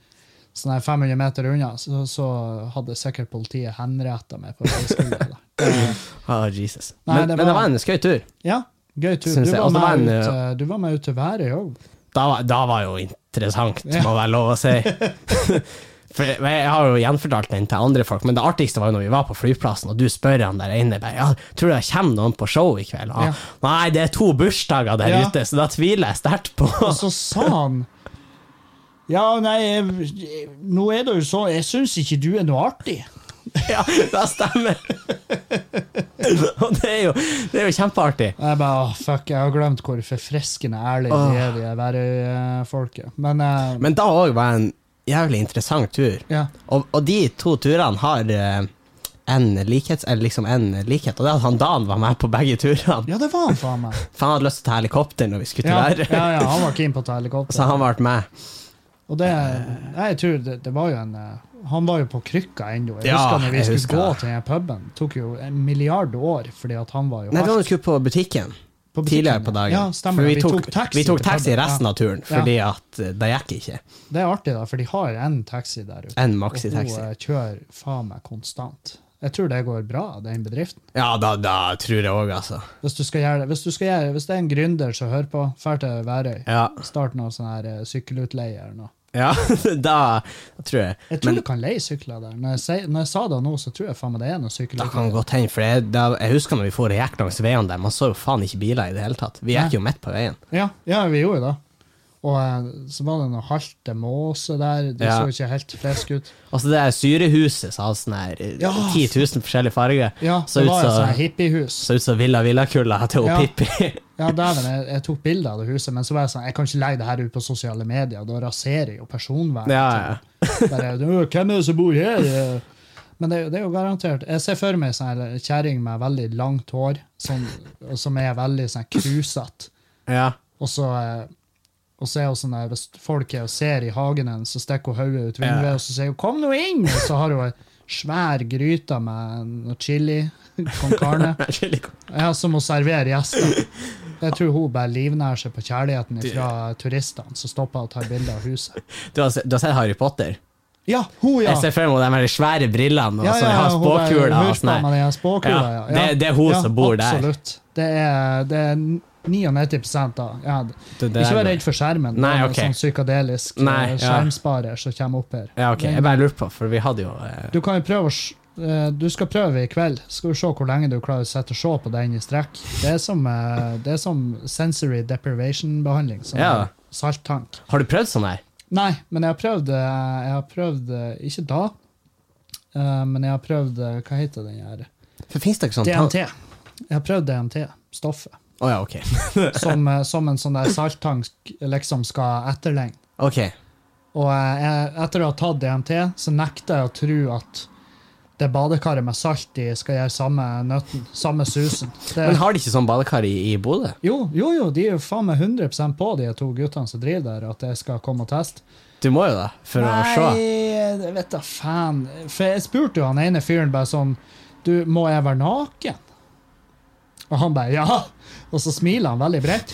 Speaker 1: sånn her 500 meter unna, så, så hadde sikkert politiet henretta meg. på veiskole, da.
Speaker 2: *laughs*
Speaker 1: Det-
Speaker 2: *laughs* Å, Jesus.
Speaker 1: Nei,
Speaker 2: men,
Speaker 1: det
Speaker 2: men
Speaker 1: var-
Speaker 2: det var en skøy tur.
Speaker 1: Ja, gøy tur.
Speaker 2: Synes
Speaker 1: Du
Speaker 2: jeg. Altså,
Speaker 1: var,
Speaker 2: Og så var
Speaker 1: med
Speaker 2: en,
Speaker 1: ut, eh, du var med ut til været òg.
Speaker 2: Da, var- da var jo interessant, må være lov å si.
Speaker 1: *laughs*
Speaker 2: For jeg jeg har jo gjenfortalt den til andre folk, men det artigste var jo når vi var på flyplassen, og du spør han der inne bare, ja, 'Tror du det kommer noen på show i kveld?' Og han,
Speaker 1: Ja.
Speaker 2: 'Nei, det er to bursdager der
Speaker 1: Ja.
Speaker 2: ute, så da tviler jeg sterkt på'. *laughs*
Speaker 1: Og *laughs* så sa han Ja, nei, jeg- nå er det jo så Jeg syns ikke du er noe artig.
Speaker 2: ja, det stemmer. *laughs* og det er, jo, det er jo kjempeartig.
Speaker 1: Jeg bare, «Åh, fuck, jeg har glemt hvor forfriskende ærlige de er, de værøyfolket. Men, eh,
Speaker 2: Men da òg var en jævlig interessant tur.
Speaker 1: ja.
Speaker 2: Og, og de to turene har eh, en likhet, eller liksom en likhet, og det er at han Dan var med på begge turene.
Speaker 1: ja, det var han faen
Speaker 2: *laughs*
Speaker 1: meg.
Speaker 2: For han hadde lyst til å ta helikopter når vi skulle
Speaker 1: Ja,
Speaker 2: til
Speaker 1: ja,
Speaker 2: været.
Speaker 1: ja, han var keen på å ta helikopter.
Speaker 2: *laughs* Så han ble med.
Speaker 1: Og det, nei, jeg tror det, det var jo en eh, Han var jo på krykka ennå. Jeg
Speaker 2: Ja,
Speaker 1: husker når vi
Speaker 2: jeg
Speaker 1: skulle
Speaker 2: husker
Speaker 1: gå
Speaker 2: det.
Speaker 1: til den puben. Det tok jo en milliard år, fordi at han var jo
Speaker 2: Nei, det var
Speaker 1: helt
Speaker 2: da vi skulle på butikken
Speaker 1: på butikken.
Speaker 2: tidligere på dagen.
Speaker 1: Ja, stemmer.
Speaker 2: For
Speaker 1: det.
Speaker 2: vi, tok,
Speaker 1: taxi.
Speaker 2: vi tok
Speaker 1: til
Speaker 2: taxi
Speaker 1: puben.
Speaker 2: resten
Speaker 1: Ja.
Speaker 2: av turen, fordi at eh, det gikk ikke.
Speaker 1: Det er artig, da, for de har én taxi der ute.
Speaker 2: En
Speaker 1: Og hun
Speaker 2: maxitaxi.
Speaker 1: eh, kjører faen meg konstant. Jeg tror det går bra, den bedriften.
Speaker 2: Ja, da, da tror jeg òg, altså.
Speaker 1: Hvis du skal gjøre det, hvis, du skal gjøre, hvis det er en gründer som hører på, drar til Værøy.
Speaker 2: Ja,
Speaker 1: Start noe sånn her eh, sykkelutleie eller noe.
Speaker 2: ja *laughs* da tror jeg.
Speaker 1: Jeg tror du kan leie sykler der. Når jeg, sier- når jeg sa det nå, så tror jeg faen meg det er noen
Speaker 2: Da
Speaker 1: sykler.
Speaker 2: kan det godt hende, for jeg, da, jeg husker når vi for og gikk langs veien der, man så jo faen ikke biler i det hele tatt. Vi
Speaker 1: Nei.
Speaker 2: gikk jo midt på veien.
Speaker 1: Ja, ja, vi gjorde det. Og eh, så var det noe halte måse der. Det
Speaker 2: Ja.
Speaker 1: så ikke helt frisk ut.
Speaker 2: Altså det der syrehuset som hadde sånn her eh,
Speaker 1: Ja.
Speaker 2: 10 000 forskjellige farger.
Speaker 1: Ja,
Speaker 2: *laughs* Så
Speaker 1: det var
Speaker 2: ut
Speaker 1: et
Speaker 2: som-
Speaker 1: sånt hippiehus.
Speaker 2: Så ut som Villa Villa-kulla til
Speaker 1: Ja.
Speaker 2: Pippi. *laughs*
Speaker 1: Ja, dæven, jeg, jeg tok bilder av det huset, men så var jeg sånn, jeg kan ikke legge det her ut på sosiale medier. Da raserer jeg jo personvernet. *laughs*
Speaker 2: ja, ja.
Speaker 1: Bare, «Nå, Hvem er det som bor her? Men det, er jo- det er jo garantert. Jeg ser for meg ei sånn her kjerring med veldig langt hår, som, og som er veldig sånn krusete.
Speaker 2: ja. *laughs*
Speaker 1: Og så eh, og så er hun sånn der, hvis folk er og ser i hagen hennes, så stikker hun hodet ut vinduet
Speaker 2: Ja.
Speaker 1: og så sier hun 'kom nå inn', og så har hun ei svær gryte med noe chili con carne ja, som hun serverer gjester. Jeg tror hun bare livnærer seg på kjærligheten fra turistene som stopper og tar bilder av huset.
Speaker 2: Du har, se- du har sett Harry Potter?
Speaker 1: Ja, hun, ja!
Speaker 2: Jeg ser for meg de her svære brillene og ja, ja, ja,
Speaker 1: hun bare
Speaker 2: spåkula. og
Speaker 1: hørte
Speaker 2: sånn her.
Speaker 1: meg med den spåkula,
Speaker 2: Ja,
Speaker 1: ja.
Speaker 2: det- det er hun som bor der.
Speaker 1: Absolutt. Det er, det er 99 da. Ja.
Speaker 2: Det- det
Speaker 1: Ikke vær
Speaker 2: er-
Speaker 1: redd for skjermen.
Speaker 2: Nei,
Speaker 1: det er en
Speaker 2: ok.
Speaker 1: sånn psykadelisk
Speaker 2: Nei,
Speaker 1: eh,
Speaker 2: ja.
Speaker 1: skjermsparer som kommer opp her.
Speaker 2: Ja, ok. Jeg bare lurte på, for vi hadde jo eh,
Speaker 1: Du kan jo prøve å s- eh, du skal prøve i kveld. Skal vi se hvor lenge du klarer å sette og se på den i strekk. Det er som, eh, det er som sensory deprivation-behandling. Sånn
Speaker 2: Ja.
Speaker 1: salttank.
Speaker 2: Har du prøvd sånn her?
Speaker 1: Nei, men jeg har prøvd eh, Jeg har prøvd eh, Ikke da, eh, men jeg har prøvd eh, Hva heter den her?
Speaker 2: For finnes det ikke sånn
Speaker 1: DMT. Jeg har prøvd DMT, stoffet,
Speaker 2: Å ja, ok.
Speaker 1: som, eh, som en sånn der salttank liksom skal etterlenge.
Speaker 2: Ok.
Speaker 1: Og eh, jeg, etter å ha tatt DMT, så nekter jeg å tro at det badekaret med salt i skal gjøre samme nøtten, samme susen. Det,
Speaker 2: Men har de ikke sånn badekar i, i Bodø?
Speaker 1: jo, jo, jo, de er jo faen meg 100 på, de to guttene som driver der, at jeg skal komme og teste.
Speaker 2: Du må jo da, for å se.
Speaker 1: Nei, jeg vet da faen. For jeg spurte jo han ene fyren bare sånn Du, må jeg være naken? Og han bare ja. Og så smiler han veldig bredt.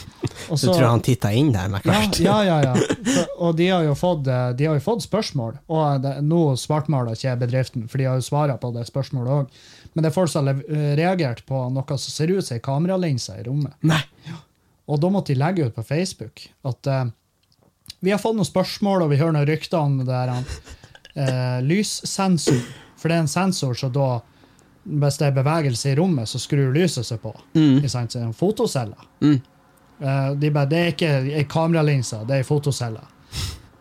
Speaker 1: Og
Speaker 2: Du
Speaker 1: så-
Speaker 2: tror han titta inn der med
Speaker 1: altså- ja,
Speaker 2: hvert? *laughs*
Speaker 1: ja, ja, ja. For, og de har jo fått, eh, de har jo fått spørsmål. Og eh, det, nå svartmaler ikke jeg bedriften, for de har jo svaret på det spørsmålet òg. Men det er folk som har lev- eh, reagert på noe som ser ut som ei kameralinse i rommet.
Speaker 2: Nei.
Speaker 1: Og da måtte de legge ut på Facebook at eh, vi har fått noen spørsmål, og vi hører noen rykter om det der eh, lyssensor. For det er en sensor som da,
Speaker 2: Mm.
Speaker 1: hvis det er bevegelse i rommet, så skrur lyset seg på. Ikke sant? Så det er en fotocelle. Eh, de bare, det er ikke ei kameralinse, det er ei fotocelle.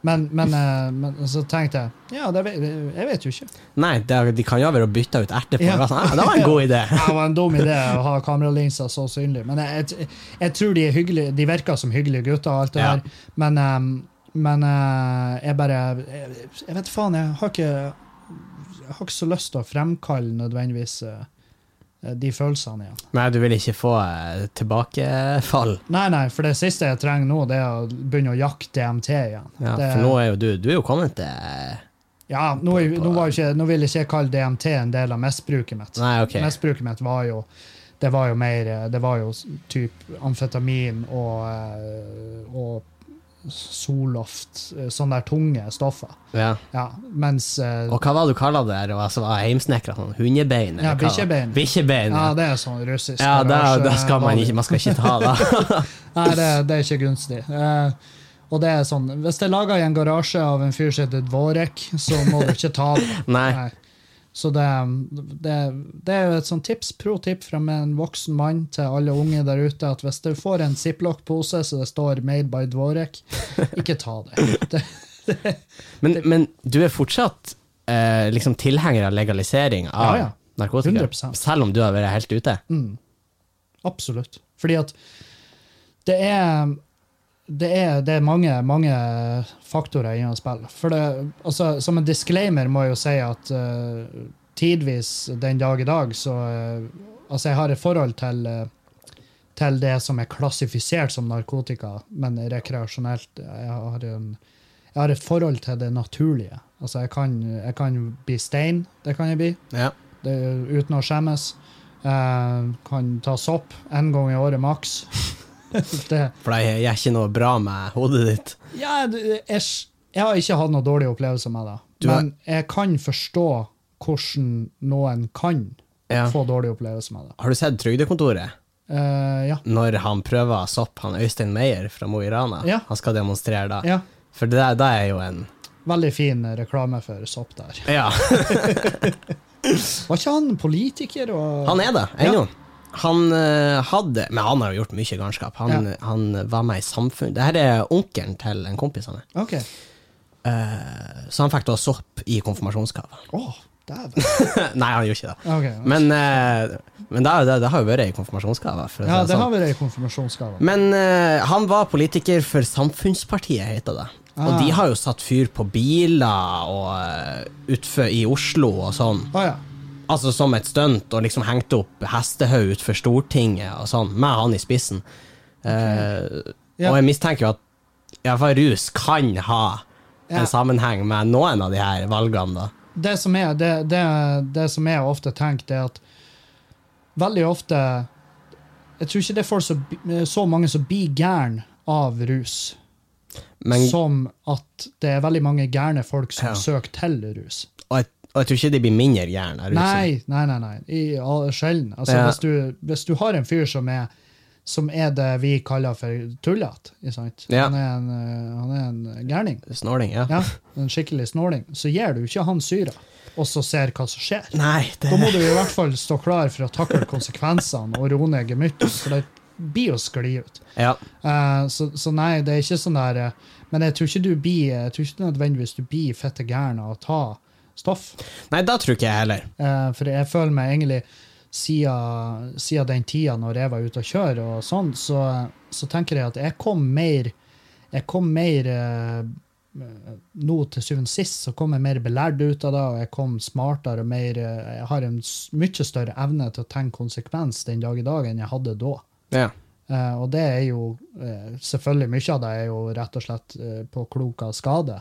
Speaker 1: Men, men, eh, men så tenkte jeg ja, det vet, jeg vet jo ikke.
Speaker 2: Nei, det, er- de kan jo være å bytte ut erter på.
Speaker 1: *laughs* Ja.
Speaker 2: Ja. Ah, det var en god idé!
Speaker 1: Ja, Det var en dum idé å ha kameralinser så synlig. Men jeg, jeg, jeg tror de er hyggelige, de virker som hyggelige gutter, og alt det
Speaker 2: Ja.
Speaker 1: der. Men, ehm, men eh, jeg bare Jeg, jeg vet faen, jeg har ikke Jeg har ikke så lyst til å fremkalle nødvendigvis eh, de følelsene igjen.
Speaker 2: Nei, du vil ikke få eh, tilbakefall.
Speaker 1: Nei, nei, for det siste jeg trenger nå, det er å begynne å jakte DMT igjen.
Speaker 2: Ja,
Speaker 1: det,
Speaker 2: For nå er jo du Du er jo kommet eh, til
Speaker 1: ja, nå, nå, var jo ikke, nå vil jeg ikke kalle DMT en del av misbruket mitt.
Speaker 2: Nei, OK.
Speaker 1: Misbruket mitt var jo Det var jo mer eh, Det var jo s- typ amfetamin og, eh, og Soloft. eh, Sånne der tunge stoffer.
Speaker 2: Ja.
Speaker 1: Ja, mens eh,
Speaker 2: Og hva var det du kalla det? Og altså, var heimsnekra sånn hundebein?
Speaker 1: Ja,
Speaker 2: eller hva?
Speaker 1: bikkjebein.
Speaker 2: Bikkjebein,
Speaker 1: Ja,
Speaker 2: ja.
Speaker 1: det er sånn russisk.
Speaker 2: Ja, da, da skal man
Speaker 1: garasje-
Speaker 2: ikke Man skal ikke ta det.
Speaker 1: Nei, det, det er ikke gunstig. Eh, og det er sånn, Hvis det er laga i en garasje av en fyr som heter Dvorek, så må du ikke ta det.
Speaker 2: Nei.
Speaker 1: *laughs* Nei. Så det, det, det er jo et sånt tips, pro tip fra en voksen mann til alle unge der ute, at hvis du får en ziplock-pose så det står 'Made by Dvorek', ikke ta det. det
Speaker 2: Men, men du er fortsatt eh, liksom tilhenger av legalisering av
Speaker 1: Ja, ja.
Speaker 2: narkotika?
Speaker 1: 100%.
Speaker 2: Selv om du har vært helt ute?
Speaker 1: Mm. absolutt. Fordi at det er det er, det er mange, mange faktorer inne i spillet. For det, altså, som en disclaimer må jeg jo si at eh, tidvis den dag i dag, så eh, Altså, jeg har et forhold til, eh, til det som er klassifisert som narkotika, men rekreasjonelt. eh, Jeg har, en, jeg har et forhold til det naturlige. Altså, jeg kan, jeg kan bli stein, det kan jeg bli,
Speaker 2: Ja.
Speaker 1: det, uten å skjemmes. Eh, kan ta sopp én gang i året maks. *laughs* det
Speaker 2: For det gjør ikke noe bra med hodet ditt?
Speaker 1: ja, det- jeg, jeg har ikke hatt noen dårlig opplevelse med det.
Speaker 2: Du har-
Speaker 1: Men jeg kan forstå hvordan noen kan
Speaker 2: Ja.
Speaker 1: få dårlig opplevelse med det.
Speaker 2: Har du sett Trygdekontoret?
Speaker 1: Eh, ja.
Speaker 2: Når han prøver sopp, han Øystein Meyer fra Mo i Rana,
Speaker 1: Ja.
Speaker 2: han skal demonstrere da.
Speaker 1: ja.
Speaker 2: For det der, det er jo en
Speaker 1: Veldig fin reklame for sopp der.
Speaker 2: Ja,
Speaker 1: Var ikke han politiker? Og...
Speaker 2: han er det ennå. Han eh, hadde Men han har jo gjort mye galskap. Han, han var med i Samfunn. Det her er onkelen til en kompis av meg.
Speaker 1: Ok.
Speaker 2: Eh, Så han fikk da sopp i konfirmasjonsgave. *laughs*
Speaker 1: Å, dæven.
Speaker 2: Nei, han gjorde ikke det.
Speaker 1: Ok.
Speaker 2: Men, eh, men det, er jo det, det har jo vært i konfirmasjonsgave. For å si
Speaker 1: Ja,
Speaker 2: det
Speaker 1: det
Speaker 2: sånn.
Speaker 1: har vi det i konfirmasjonsgave.
Speaker 2: Men eh, han var politiker for Samfunnspartiet, heter det. Og
Speaker 1: Ah.
Speaker 2: de har jo satt fyr på biler og eh, utfor i Oslo og sånn.
Speaker 1: Å Ah, ja.
Speaker 2: Altså som et stunt, og liksom hengt opp hestehaug utenfor Stortinget og sånn, med han i spissen. Eh,
Speaker 1: Ja.
Speaker 2: Og jeg mistenker jo at iallfall rus kan ha
Speaker 1: Ja.
Speaker 2: en sammenheng med noen av de her valgene, da.
Speaker 1: det som er, det, det, det som jeg ofte tenker, det er at veldig ofte Jeg tror ikke det er folk som, bi- eh, så mange som blir gæren av rus,
Speaker 2: Men,
Speaker 1: som at det er veldig mange gærne folk som
Speaker 2: Ja.
Speaker 1: søker til rus.
Speaker 2: og, jeg, og jeg tror ikke de blir mindre gærne av rusen.
Speaker 1: Nei, nei, nei. nei. I, all- sjelden. Altså,
Speaker 2: Ja.
Speaker 1: hvis, du, hvis du har en fyr som er som er det vi kaller for tullete. ikke sant?
Speaker 2: Ja.
Speaker 1: Han er en, eh, han er en gærning.
Speaker 2: Snåling, ja.
Speaker 1: Ja, en skikkelig snåling. Så gir du ikke han syra, og så ser hva som skjer.
Speaker 2: Nei, det
Speaker 1: Da må du i hvert fall stå klar for å takle konsekvensene og roe ned gemyttet, for det blir å skli ut.
Speaker 2: Ja.
Speaker 1: Eh, så, så nei, det er ikke sånn der eh, Men jeg tror ikke du blir Jeg tror ikke nødvendigvis du blir fette gæren av å ta stoff.
Speaker 2: Nei, da tror ikke jeg heller.
Speaker 1: Eh, for jeg føler meg egentlig siden, siden den tida når jeg var ute og kjøre og sånn, så, så tenker jeg at jeg kom mer jeg kom mer eh, nå til syvende og sist så kom jeg mer belært ut av det, og jeg kom smartere og mer eh, Jeg har en s- mye større evne til å tenke konsekvens den dag i dag enn jeg hadde da.
Speaker 2: Ja.
Speaker 1: Eh, og det er jo eh, Selvfølgelig mye av det er jo rett og slett eh, på klok av skade.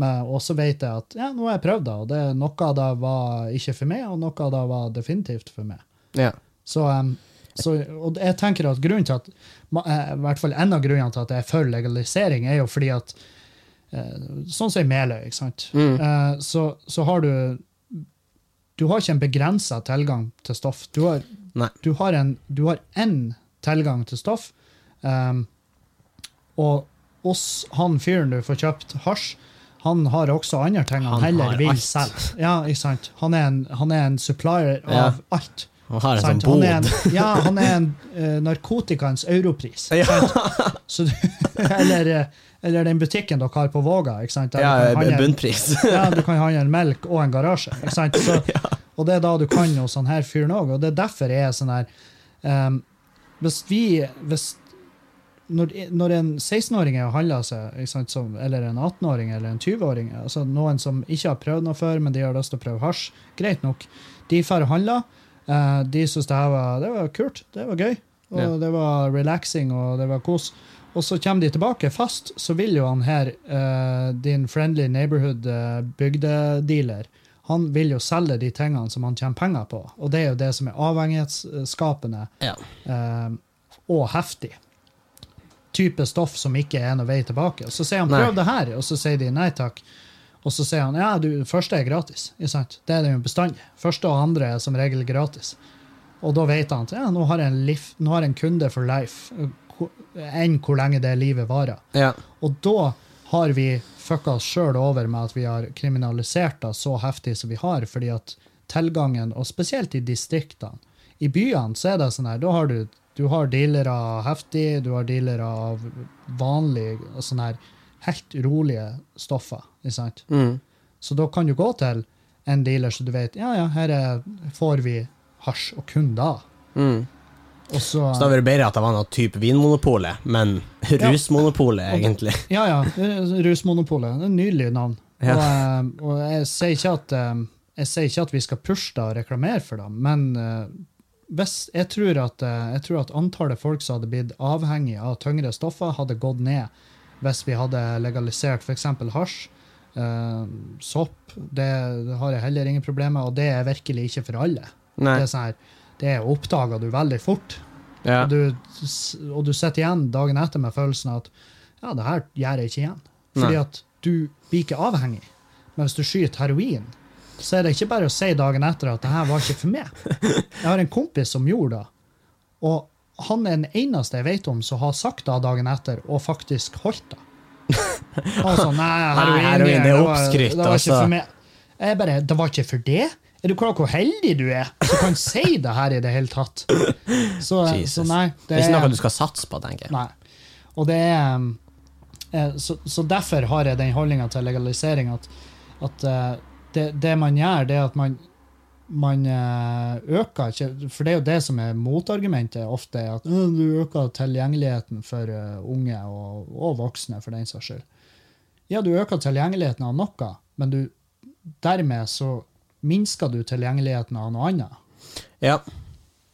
Speaker 1: Men også vet jeg at ja, nå har jeg prøvd det, og det, noe av det var ikke for meg, og noe av det var definitivt for meg.
Speaker 2: ja.
Speaker 1: Så, em, så og jeg tenker at grunnen til at ma- eh, i hvert fall en av grunnene til at jeg er for legalisering, er jo fordi at eh, Sånn som i Meløy, ikke sant?
Speaker 2: Mm.
Speaker 1: Eh, så, så har du Du har ikke en begrensa tilgang til stoff. Du har,
Speaker 2: Nei.
Speaker 1: du har, en, du har én tilgang til stoff. em, og hos han fyren du får kjøpt hasj, han har også andre ting han,
Speaker 2: Han
Speaker 1: heller
Speaker 2: har
Speaker 1: vil
Speaker 2: alt.
Speaker 1: selge. Ja, ikke sant? Han er en, han er en supplier
Speaker 2: Ja.
Speaker 1: av alt.
Speaker 2: Han har en sånn
Speaker 1: sant? Han er
Speaker 2: bod. *laughs*
Speaker 1: en, ja, han er en eh, narkotikaens europris.
Speaker 2: Ja,
Speaker 1: Så, du- *laughs* eller, eh, eller den butikken dere har på Våga. Ikke sant? Der
Speaker 2: ja, eh,
Speaker 1: du kan handle-
Speaker 2: bunnpris.
Speaker 1: *laughs* ja, du kan handle melk og en garasje. Ikke sant? Så, Og det er da du kan hos sånn her fyren òg. Og det er derfor jeg er sånn her ehm, Hvis vi hvis, når, når en 16-åring er og handler seg, ikke sant, som, eller en 18-åring eller en 20-åring, altså noen som ikke har prøvd noe før, men de har lyst til å prøve hasj, greit nok. De drar og handler. Eh, de syns det her var, det var kult, det var gøy, og
Speaker 2: Ja.
Speaker 1: det var relaxing og det var kos. Og så kommer de tilbake fast, så vil jo han her, eh, din friendly neighborhood eh, bygdedealer, han vil jo selge de tingene som han tjener penger på. Og det er jo det som er avhengighetsskapende
Speaker 2: *laughs* Ja.
Speaker 1: eh, og heftig. Type stoff som ikke er noe vei tilbake. Så sier han
Speaker 2: Nei.
Speaker 1: 'prøv det her', og så sier de nei takk. Og så sier han ja, du, første er gratis. Ikke sant? Det er det jo bestandig. Første og andre er som regel gratis. Og da vet han at ja, nå har jeg en, lif, nå har jeg en kunde for life. Ko- Enn hvor lenge det livet varer.
Speaker 2: Ja.
Speaker 1: Og da har vi fucka oss sjøl over med at vi har kriminalisert det så heftig som vi har, fordi at tilgangen, og spesielt i distriktene I byene så er det sånn her, da har du, du har dealere av heftig, du har dealere av vanlige og sånne her helt rolige stoffer. ikke sant?
Speaker 2: Mm.
Speaker 1: Så da kan du gå til en dealer så du vet ja, ja, her er, får vi hasj, og kun da.
Speaker 2: Mm.
Speaker 1: Og så,
Speaker 2: Så da var det bedre at det var noe type Vinmonopolet, men rusmonopolet, egentlig.
Speaker 1: Ja, ja. Rusmonopolet. Det er et Nydelig navn.
Speaker 2: Ja.
Speaker 1: Og, eh, og jeg sier ikke at eh, jeg sier ikke at vi skal pushe det og reklamere for det, men eh, hvis, jeg, tror at, eh, jeg tror at antallet folk som hadde blitt avhengig av tyngre stoffer, hadde gått ned hvis vi hadde legalisert f.eks. hasj. eh, sopp det har jeg heller ingen problemer med, og det er virkelig ikke for alle.
Speaker 2: Nei.
Speaker 1: Det er sånn her, det oppdager du veldig fort.
Speaker 2: Ja.
Speaker 1: Og du, og du sitter igjen dagen etter med følelsen av at ja, det her gjør jeg ikke igjen. Fordi
Speaker 2: Nei.
Speaker 1: at du blir ikke avhengig. Men hvis du skyter heroin, så er det ikke bare å si dagen etter at det her var ikke for meg. Jeg har en kompis som gjorde det, og han er den eneste jeg vet om som har sagt det dagen etter, og faktisk holdt det. Altså, nei, heroin,
Speaker 2: heroin, det er
Speaker 1: var-
Speaker 2: oppskrytt,
Speaker 1: Det var ikke
Speaker 2: altså.
Speaker 1: for meg. Jeg bare, det var ikke for det? Er du klar over hvor heldig du er som kan si det her i det hele tatt? Så,
Speaker 2: Jesus.
Speaker 1: så nei,
Speaker 2: Det er ikke noe du skal satse på, tenker jeg.
Speaker 1: Nei. Og det er um, eh, Så, så derfor har jeg den holdninga til legalisering at, at eh, det, det man gjør, det er at man man eh, øker ikke For det er jo det som er motargumentet ofte, er at «Øh, du øker tilgjengeligheten for eh, unge og, og voksne, for den saks skyld. Ja, du øker tilgjengeligheten av noe, men du, dermed så minsker du tilgjengeligheten av noe annet.
Speaker 2: Ja.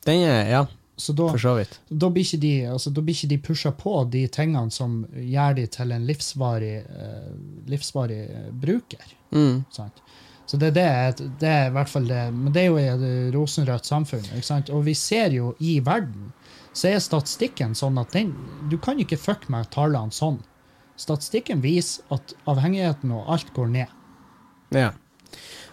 Speaker 2: Den er, ja,
Speaker 1: Så da,
Speaker 2: for så vidt.
Speaker 1: da blir ikke de, altså, da blir ikke de pusha på de tingene som gjør de til en livsvarig, eh, livsvarig eh, bruker.
Speaker 2: Mm.
Speaker 1: Sant? Så det, er det, jeg- det er i hvert fall det. Men det er jo i et eh, rosenrødt samfunn. Ikke sant? Og vi ser jo i verden, så er statistikken sånn at den, du kan ikke fucke med tallene sånn. Statistikken viser at avhengigheten og alt går ned.
Speaker 2: Ja.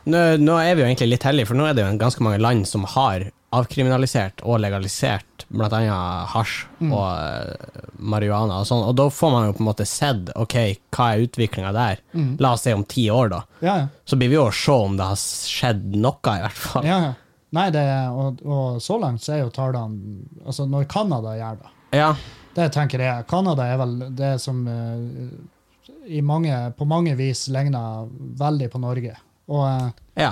Speaker 2: Nå, nå er vi jo egentlig litt heldige, for nå er det jo en ganske mange land som har avkriminalisert og legalisert blant annet hasj
Speaker 1: Mm.
Speaker 2: og eh, marihuana og sånn, og da får man jo på en måte sett ok, hva er utviklinga der?
Speaker 1: Mm.
Speaker 2: La oss si om ti år, da.
Speaker 1: Ja, ja.
Speaker 2: Så blir vi jo å se om det har skjedd noe, i hvert fall.
Speaker 1: ja, ja. Nei, det, og, og så langt så er jo tallene Altså, når Canada gjør det
Speaker 2: Ja.
Speaker 1: Det tenker jeg. Canada er vel det som eh, i mange, på mange vis ligner veldig på Norge. Og, eh,
Speaker 2: ja.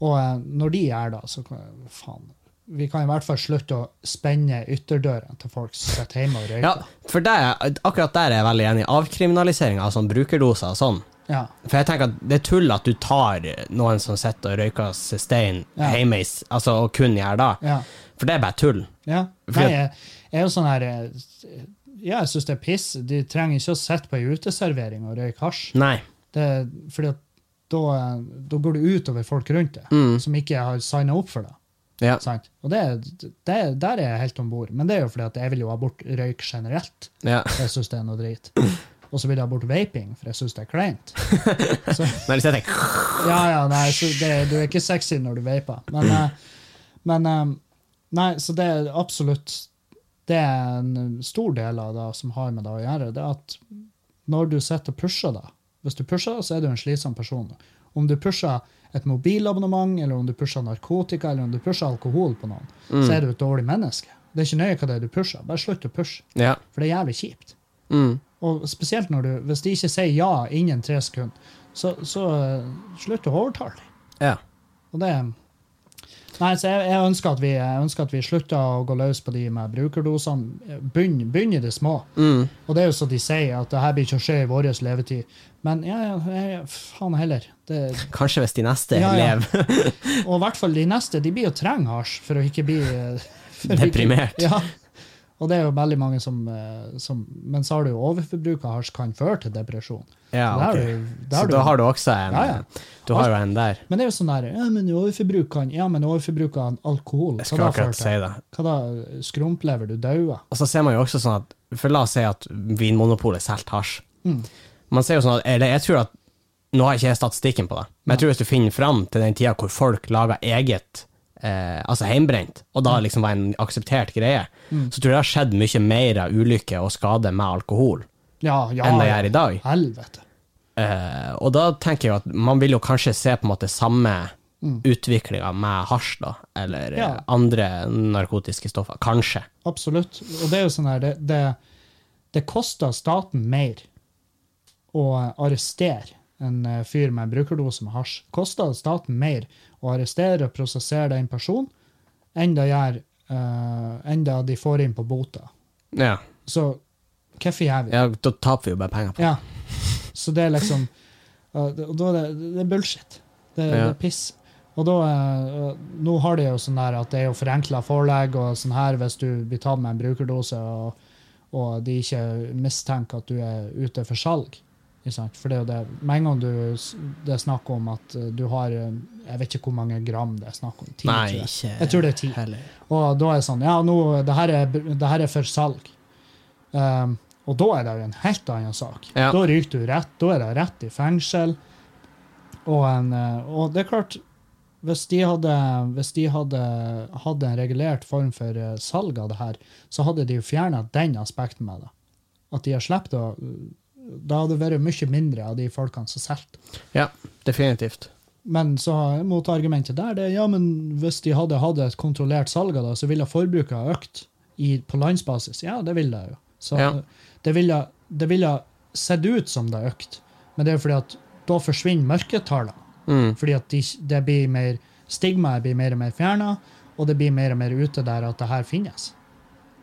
Speaker 1: og eh, når de er da, så kan faen Vi kan i hvert fall slutte å spenne ytterdøren til folk som sitter hjemme og
Speaker 2: Ja,
Speaker 1: røyker.
Speaker 2: for det, akkurat der er jeg veldig enig. Avkriminalisering av sånn brukerdoser og sånn.
Speaker 1: Ja.
Speaker 2: For jeg tenker at det er tull at du tar noen som sitter og røyker stein
Speaker 1: Ja.
Speaker 2: hjemme, i s- altså, og kun gjør det.
Speaker 1: Ja.
Speaker 2: For det er bare tull.
Speaker 1: ja.
Speaker 2: Fordi
Speaker 1: Nei,
Speaker 2: at-
Speaker 1: jeg, jeg er jo sånn her eh, Ja, jeg syns det er piss. De trenger ikke å sitte på ei uteservering og røyke hasj.
Speaker 2: Nei.
Speaker 1: Det, fordi at da, eh, da går det utover folk rundt deg,
Speaker 2: Mm.
Speaker 1: som ikke har signa opp for det.
Speaker 2: Ja.
Speaker 1: Sant? Og det, det, der er jeg helt om bord. Men det er jo fordi at jeg vil jo ha bort røyk generelt.
Speaker 2: ja.
Speaker 1: for Jeg syns det er noe drit. Og så vil jeg ha bort vaping, for jeg syns det er kleint. Så,
Speaker 2: Nei, hvis jeg tenker,
Speaker 1: ja, ja, nei, så det, du er ikke sexy når du vaper. Men, eh, men eh, Nei, så det er absolutt Det er en stor del av det som har med det å gjøre. Det er at når du sitter og pusher det Hvis du pusher, så er du en slitsom person. Om du pusher et mobilabonnement, eller om du pusher narkotika eller om du pusher alkohol på noen,
Speaker 2: Mm.
Speaker 1: så er du et dårlig menneske. Det er ikke nøye hva det er du pusher. Bare slutt å pushe,
Speaker 2: Ja.
Speaker 1: for det er jævlig kjipt.
Speaker 2: Mm.
Speaker 1: Og spesielt når du, hvis de ikke sier ja innen tre sekunder, så, så eh, slutt å overtale dem.
Speaker 2: ja.
Speaker 1: Og det Nei, så jeg, jeg, ønsker at vi, jeg ønsker at vi slutter å gå løs på de med brukerdosene. Begynn begynn i det små.
Speaker 2: Mm.
Speaker 1: Og det er jo så de sier, at det her blir ikke å skje i vår levetid. Men ja, ja, ja, faen heller. Det,
Speaker 2: Kanskje hvis de neste
Speaker 1: Ja, ja.
Speaker 2: lever
Speaker 1: og i hvert fall de neste, de blir jo trenge hasj for å ikke bli eh, for å ikke-
Speaker 2: deprimert.
Speaker 1: Ja. Og det er jo veldig mange som, eh, som Men så har du jo overforbruk av hasj kan føre til depresjon.
Speaker 2: Ja,
Speaker 1: Der
Speaker 2: ok.
Speaker 1: er du- der
Speaker 2: Så
Speaker 1: er du-
Speaker 2: da har du også en
Speaker 1: Ja, Altså- ja.
Speaker 2: Du har jo en der.
Speaker 1: Men det er jo sånn der Ja, men overforbruk kan Ja, men overforbruk av alkohol Hva
Speaker 2: Jeg skulle
Speaker 1: da,
Speaker 2: akkurat
Speaker 1: fører
Speaker 2: si
Speaker 1: til?
Speaker 2: det.
Speaker 1: Hva da? Skrumplever? Du dauer?
Speaker 2: Og så ser man jo også sånn at For la oss si at Vinmonopolet selger hasj.
Speaker 1: Mm.
Speaker 2: Man ser jo sånn at Eller jeg tror at Nå har ikke jeg statistikken på det, men jeg tror hvis du finner fram til den tida hvor folk laga eget eh, Altså heimbrent,
Speaker 1: Mm.
Speaker 2: og da liksom var en akseptert greie, så tror jeg det har skjedd mye mer av ulykker og skader med alkohol
Speaker 1: Ja, Ah, ja.
Speaker 2: enn det gjør i dag.
Speaker 1: Helvete.
Speaker 2: Eh, og da tenker jeg jo at man vil jo kanskje se på en måte samme utviklinga med hasj, da, eller
Speaker 1: Mm.
Speaker 2: eh,
Speaker 1: Ja.
Speaker 2: andre narkotiske stoffer. Kanskje.
Speaker 1: Absolutt. Og det er jo sånn her, det, det, det koster staten mer å arrestere en eh, fyr med en brukerdose med hasj. Koster staten mer å arrestere og prosessere den personen enn det gjør eh, enn det de får inn på bota.
Speaker 2: Ja.
Speaker 1: Så hvorfor gjør vi det?
Speaker 2: ja, da taper vi jo bare penger på det.
Speaker 1: Ja. Så det er liksom *laughs* ja, det- Og da er det, det er bullshit. Det, det
Speaker 2: Ja.
Speaker 1: er piss. Og da eh, Nå har de jo sånn der at det er jo forenkla forelegg og sånn her hvis du blir tatt med en brukerdose og, og de ikke mistenker at du er ute for salg. Ikke sant? For det er jo det Med en gang du, s- det er snakk om at eh, du har eh, Jeg vet ikke hvor mange gram det er snakk om. 10,
Speaker 2: Nei,
Speaker 1: tror jeg.
Speaker 2: ikke
Speaker 1: Jeg tror det er ti.
Speaker 2: heller.
Speaker 1: Og da er det sånn Ja, nå, det her er, det her er for salg. Um, og da er det jo en helt annen sak.
Speaker 2: Ja.
Speaker 1: Da ryker du rett. Da er det rett i fengsel. Og, en, eh, og det er klart hvis de, hadde, hvis de hadde hatt en regulert form for eh, salg av det her, så hadde de jo fjerna den aspekten med det. At de har sluppet å Da hadde det vært mye mindre av de folkene som solgte.
Speaker 2: Ja, definitivt.
Speaker 1: Men så har- motargumentet der det er ja, men hvis de hadde hatt et kontrollert salg av det, så ville forbruket ha økt i, på landsbasis. Ja, det ville det jo. Så
Speaker 2: Ja.
Speaker 1: det ville, det ville sett ut som det har økt, men det er jo fordi at da forsvinner mørketallene.
Speaker 2: Mm.
Speaker 1: Fordi at de, det blir mer stigmaet blir mer og mer fjerna, og det blir mer og mer ute der at det her finnes.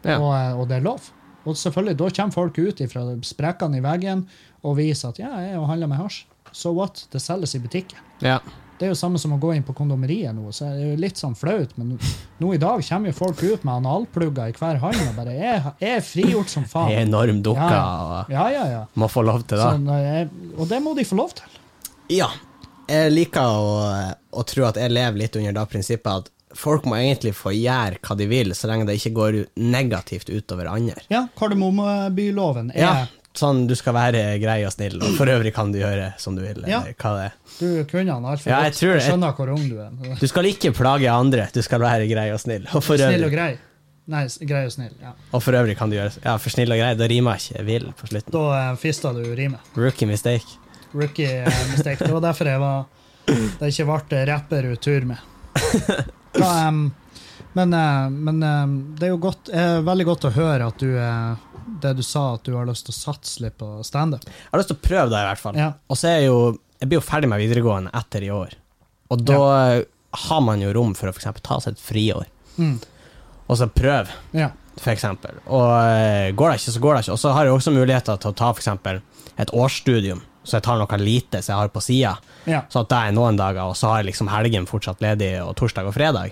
Speaker 2: Ja.
Speaker 1: Og, eh, og det er lov. Og selvfølgelig, da kommer folk ut fra sprekkene i veggen og viser at ja, jeg handler med hasj. So what? Det selges i butikken.
Speaker 2: ja.
Speaker 1: Det er jo samme som å gå inn på kondomeriet nå, så det er jo litt sånn flaut, men nå i dag kommer jo folk ut med analplugger i hver hånd og bare er, er frigjort som
Speaker 2: Jeg er
Speaker 1: faen.
Speaker 2: enorm
Speaker 1: Ah.
Speaker 2: dukka
Speaker 1: Ja.
Speaker 2: og
Speaker 1: Ja, ja, ja.
Speaker 2: må få lov til det.
Speaker 1: Sånn, eh, og det må de få lov til.
Speaker 2: Ja. Jeg liker å, å tro at jeg lever litt under det prinsippet at folk må egentlig få gjøre hva de vil, så lenge det ikke går ut- negativt utover andre.
Speaker 1: Ja, kardemommebyloven er
Speaker 2: Ja, sånn du skal være grei og snill, og for øvrig kan du gjøre som du vil,
Speaker 1: Ja.
Speaker 2: eller hva det er.
Speaker 1: Du kunne han altfor
Speaker 2: Ja, jeg
Speaker 1: godt.
Speaker 2: tror
Speaker 1: Jeg
Speaker 2: det.
Speaker 1: skjønner hvor ung du er.
Speaker 2: Du skal ikke plage andre, du skal være grei og snill, og for
Speaker 1: Snill og
Speaker 2: øvrig,
Speaker 1: grei. Nei, s- grei og snill. Ja.
Speaker 2: og for øvrig kan du gjøre Ja, for snill og grei, det rimer ikke vil på slutten.
Speaker 1: Da eh, fista du rimet.
Speaker 2: Rookie mistake.
Speaker 1: Rookie eh, mistake. Det var derfor jeg var det ikke ble rapper ut tur med. Da, em, men eh, men em, det er jo godt, eh, veldig godt å høre at du eh, det du sa, at du har lyst til å satse litt på standup.
Speaker 2: Jeg har lyst til å prøve det, i hvert fall.
Speaker 1: Ja.
Speaker 2: Og så er jeg jo Jeg blir jo ferdig med videregående etter i år. Og da har man jo rom for å for eksempel ta seg et friår,
Speaker 1: Mm.
Speaker 2: og så prøve,
Speaker 1: Ja.
Speaker 2: for eksempel. Og eh, går det ikke, så går det ikke. Og så har jeg også muligheter til å ta for eksempel et årsstudium, så jeg tar noe lite som jeg har på sida.
Speaker 1: ja.
Speaker 2: Sånn at det er noen dager, og så har jeg liksom helgen fortsatt ledig, og torsdag og fredag.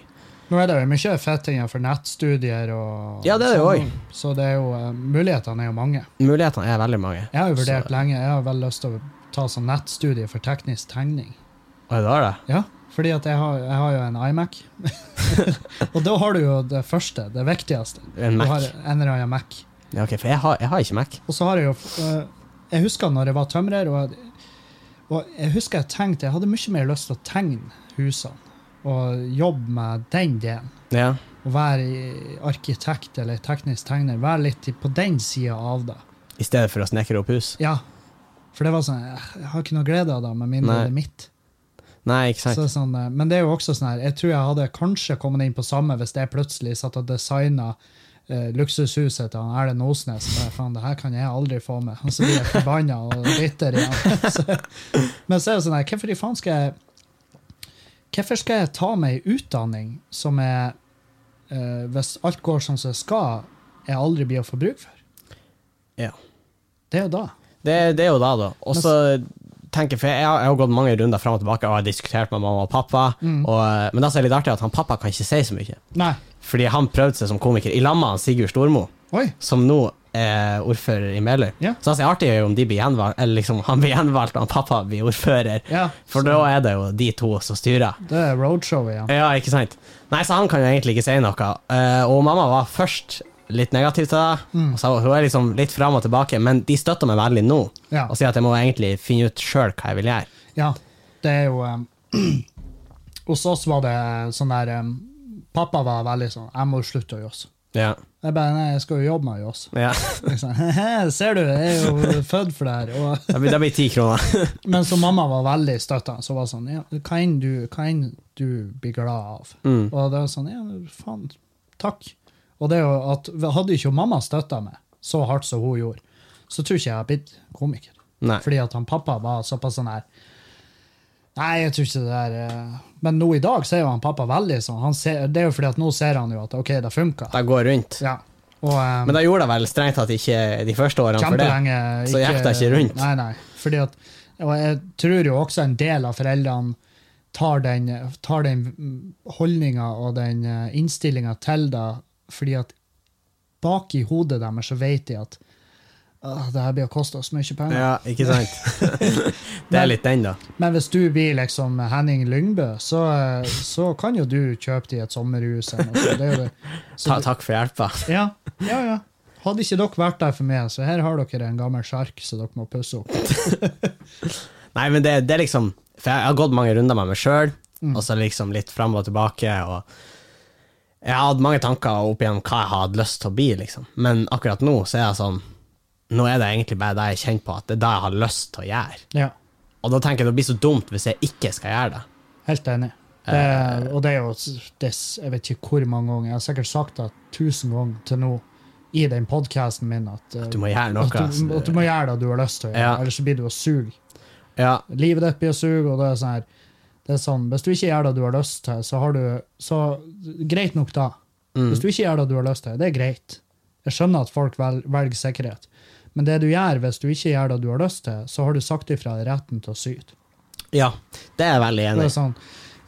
Speaker 1: Nå er det jo mye fettinger for nettstudier og
Speaker 2: Ja, det er det jo
Speaker 1: sånn, Så det er jo, eh, mulighetene er jo mange.
Speaker 2: Mulighetene er veldig mange.
Speaker 1: Jeg har jo
Speaker 2: Så-
Speaker 1: vurdert lenge. Jeg har vel lyst til å ta sånn nettstudie for teknisk tegning.
Speaker 2: Oi, da er det.
Speaker 1: Ja, fordi at jeg har, jeg har jo en iMac. *laughs* og da har du jo det første, det viktigste. Du
Speaker 2: En Mac.
Speaker 1: har en eller annen Mac.
Speaker 2: Ja, ok, for jeg har, jeg har ikke Mac.
Speaker 1: Og så har jeg jo øh, Jeg husker når jeg var tømrer, og, og jeg husker jeg tenkte Jeg hadde mye mer lyst til å tegne husene og jobbe med den delen.
Speaker 2: Ja.
Speaker 1: Å være i- arkitekt eller teknisk tegner. Være litt i- på den sida av det.
Speaker 2: I stedet for å snekre opp hus.
Speaker 1: eh, Ja. For det var sånn Jeg har ikke noe glede av det, med mindre
Speaker 2: Nei.
Speaker 1: det er mitt.
Speaker 2: Nei, ikke
Speaker 1: Så
Speaker 2: sant.
Speaker 1: det er sånn, eh, men det er jo også sånn her, jeg tror jeg hadde kanskje kommet inn på samme hvis jeg plutselig satt og designa eh, luksushuset til han Erlend Osnes. Bare, faen, det her kan jeg aldri få med. Og så blir jeg forbanna og bitter igjen. *laughs* Så, men så er det sånn her, hvorfor i faen skal jeg Hvorfor skal jeg ta meg en utdanning som jeg, eh, hvis alt går som det skal, jeg aldri blir å få bruk for?
Speaker 2: Ja.
Speaker 1: Det er jo da.
Speaker 2: Det, det er jo da, da. Og så tenker jeg, for jeg, har- jeg har gått mange runder fram og tilbake og jeg har diskutert med mamma og pappa,
Speaker 1: Mm.
Speaker 2: og, eh, men det som er litt artig, er at han pappa kan ikke si så mye.
Speaker 1: Nei.
Speaker 2: Fordi han prøvde seg som komiker i lag med han Sigurd Stormo,
Speaker 1: Oi.
Speaker 2: som nå er ordfører i Meløy.
Speaker 1: Ja.
Speaker 2: Så det som er artig, er jo om de blir gjenvalgt, eller liksom han blir gjenvalgt og han pappa blir ordfører.
Speaker 1: Ja.
Speaker 2: For da er det jo de to som styrer.
Speaker 1: Det er roadshow igjen.
Speaker 2: Ja, ikke sant? Nei, så han kan jo egentlig ikke si noe. Eh, og mamma var først litt negativ til det.
Speaker 1: Mm.
Speaker 2: Og så hun er liksom litt fram og tilbake, men de støtter meg veldig nå.
Speaker 1: Ja.
Speaker 2: Og sier at jeg må egentlig finne ut sjøl hva jeg vil gjøre.
Speaker 1: Ja, det er jo um, *clears throat* Hos oss var det sånn der um, Pappa var veldig sånn 'Jeg må jo slutte å jåse'.
Speaker 2: Ja.
Speaker 1: Jeg bare 'Nei, jeg skal jo jobbe med å *laughs* jåse'.
Speaker 2: ja. *laughs*
Speaker 1: Liksom, «Hehe, Ser du, jeg er jo *laughs* født for det her. Og,
Speaker 2: Det blir- det blir ti kroner. *laughs*
Speaker 1: men så mamma var veldig støtta. Så var det sånn ja, 'Hva enn du, hva enn du blir glad av?'
Speaker 2: Mm.
Speaker 1: Og det var sånn 'Ja, faen, takk'. Og det er jo at hadde ikke mamma støtta meg så hardt som hun gjorde, så tror ikke jeg hadde blitt komiker.
Speaker 2: Nei.
Speaker 1: Fordi at han pappa var såpass sånn her Nei, jeg tror ikke det der eh." Men nå i dag så er jo han pappa veldig sånn. Han ser, det er jo fordi at nå ser han jo at OK, det funka.
Speaker 2: Det går rundt.
Speaker 1: Ja. Og eh,
Speaker 2: Men da gjorde jeg vel strengt tatt ikke de første årene for det.
Speaker 1: kjempelenge
Speaker 2: Så gikk det ikke rundt.
Speaker 1: Nei, nei. Fordi at Og jeg tror jo også en del av foreldrene tar den, tar den holdninga og den eh, innstillinga til det, fordi at bak i hodet deres så vet de at «Åh, det her blir å koste oss mye penger.
Speaker 2: Ja, ikke
Speaker 1: *laughs*
Speaker 2: sant? det er litt den, da.
Speaker 1: Men hvis du blir liksom Henning Lyngbø, så, eh, så kan jo du kjøpe deg et sommerhus. Eller noe. sånt. Det er jo det. Så
Speaker 2: Ta,
Speaker 1: du-
Speaker 2: takk for hjelpa.
Speaker 1: Ja, ja, ja. Hadde ikke dere vært der for meg, så her har dere en gammel sjark som dere må pusse opp.
Speaker 2: Nei, men det, det er liksom For jeg, jeg har gått mange runder med meg sjøl,
Speaker 1: Mm.
Speaker 2: og så liksom litt fram og tilbake. Og jeg har hatt mange tanker opp igjennom hva jeg hadde lyst til å bli, liksom. Men akkurat nå så er jeg sånn Nå er det egentlig bare det jeg kjenner på, at det er det jeg har lyst til å gjøre.
Speaker 1: Ja,
Speaker 2: Og da tenker jeg det blir så dumt hvis jeg ikke skal gjøre det.
Speaker 1: Helt enig. Det,
Speaker 2: Eh.
Speaker 1: og det er jo det, s- Jeg vet ikke hvor mange ganger. Jeg har sikkert sagt det tusen ganger til nå i den podkasten min at, eh,
Speaker 2: Du må gjøre noe.
Speaker 1: at, du,
Speaker 2: som
Speaker 1: at du må gjøre det du har lyst til å gjøre,
Speaker 2: Ja.
Speaker 1: ellers så blir du å suge.
Speaker 2: Ja,
Speaker 1: Livet ditt blir å suge, og det er sånn her det er sånn, Hvis du ikke gjør det du har lyst til, så har du så, Greit nok, da.
Speaker 2: Mm.
Speaker 1: Hvis du ikke gjør det du har lyst til, det er greit. Jeg skjønner at folk vel, velger sikkerhet. Men det du gjør hvis du ikke gjør det du har lyst til, så har du sagt ifra deg retten til å syte.
Speaker 2: ja, det er jeg veldig
Speaker 1: Det
Speaker 2: enig
Speaker 1: er
Speaker 2: i.
Speaker 1: sånn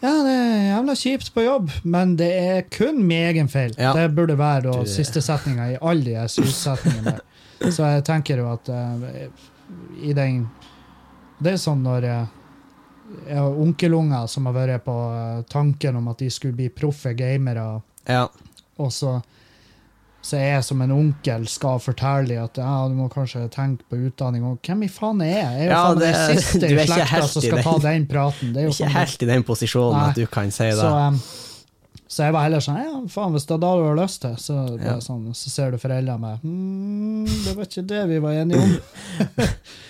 Speaker 1: Ja, det er jævla kjipt på jobb, men det er kun min egen feil.
Speaker 2: Ja.
Speaker 1: Det burde være da,
Speaker 2: Du-
Speaker 1: siste setninga i alle de sytsetningene. Så jeg tenker jo at eh, i den Det er sånn når eh, jeg har onkelunger som har vært på eh, tanken om at de skulle bli proffe gamere,
Speaker 2: Ja.
Speaker 1: og så så jeg som en onkel skal fortelle dem at ja, du må kanskje tenke på utdanning. Og hvem i faen er jeg? Jeg er jo
Speaker 2: Ja,
Speaker 1: faen meg
Speaker 2: det-
Speaker 1: den siste
Speaker 2: du er
Speaker 1: i
Speaker 2: ikke
Speaker 1: slekta
Speaker 2: helt
Speaker 1: som
Speaker 2: i
Speaker 1: skal
Speaker 2: den.
Speaker 1: ta den praten. Det er jo
Speaker 2: Ikke
Speaker 1: faen meg
Speaker 2: helt i den posisjonen
Speaker 1: Nei.
Speaker 2: at du kan si det.
Speaker 1: så, um, så jeg var heller sånn Ja, faen, hvis det er da du har lyst til, så, bare
Speaker 2: Ja.
Speaker 1: sånn, så ser du foreldrene meg «Hmm, Det var ikke det vi var enige om.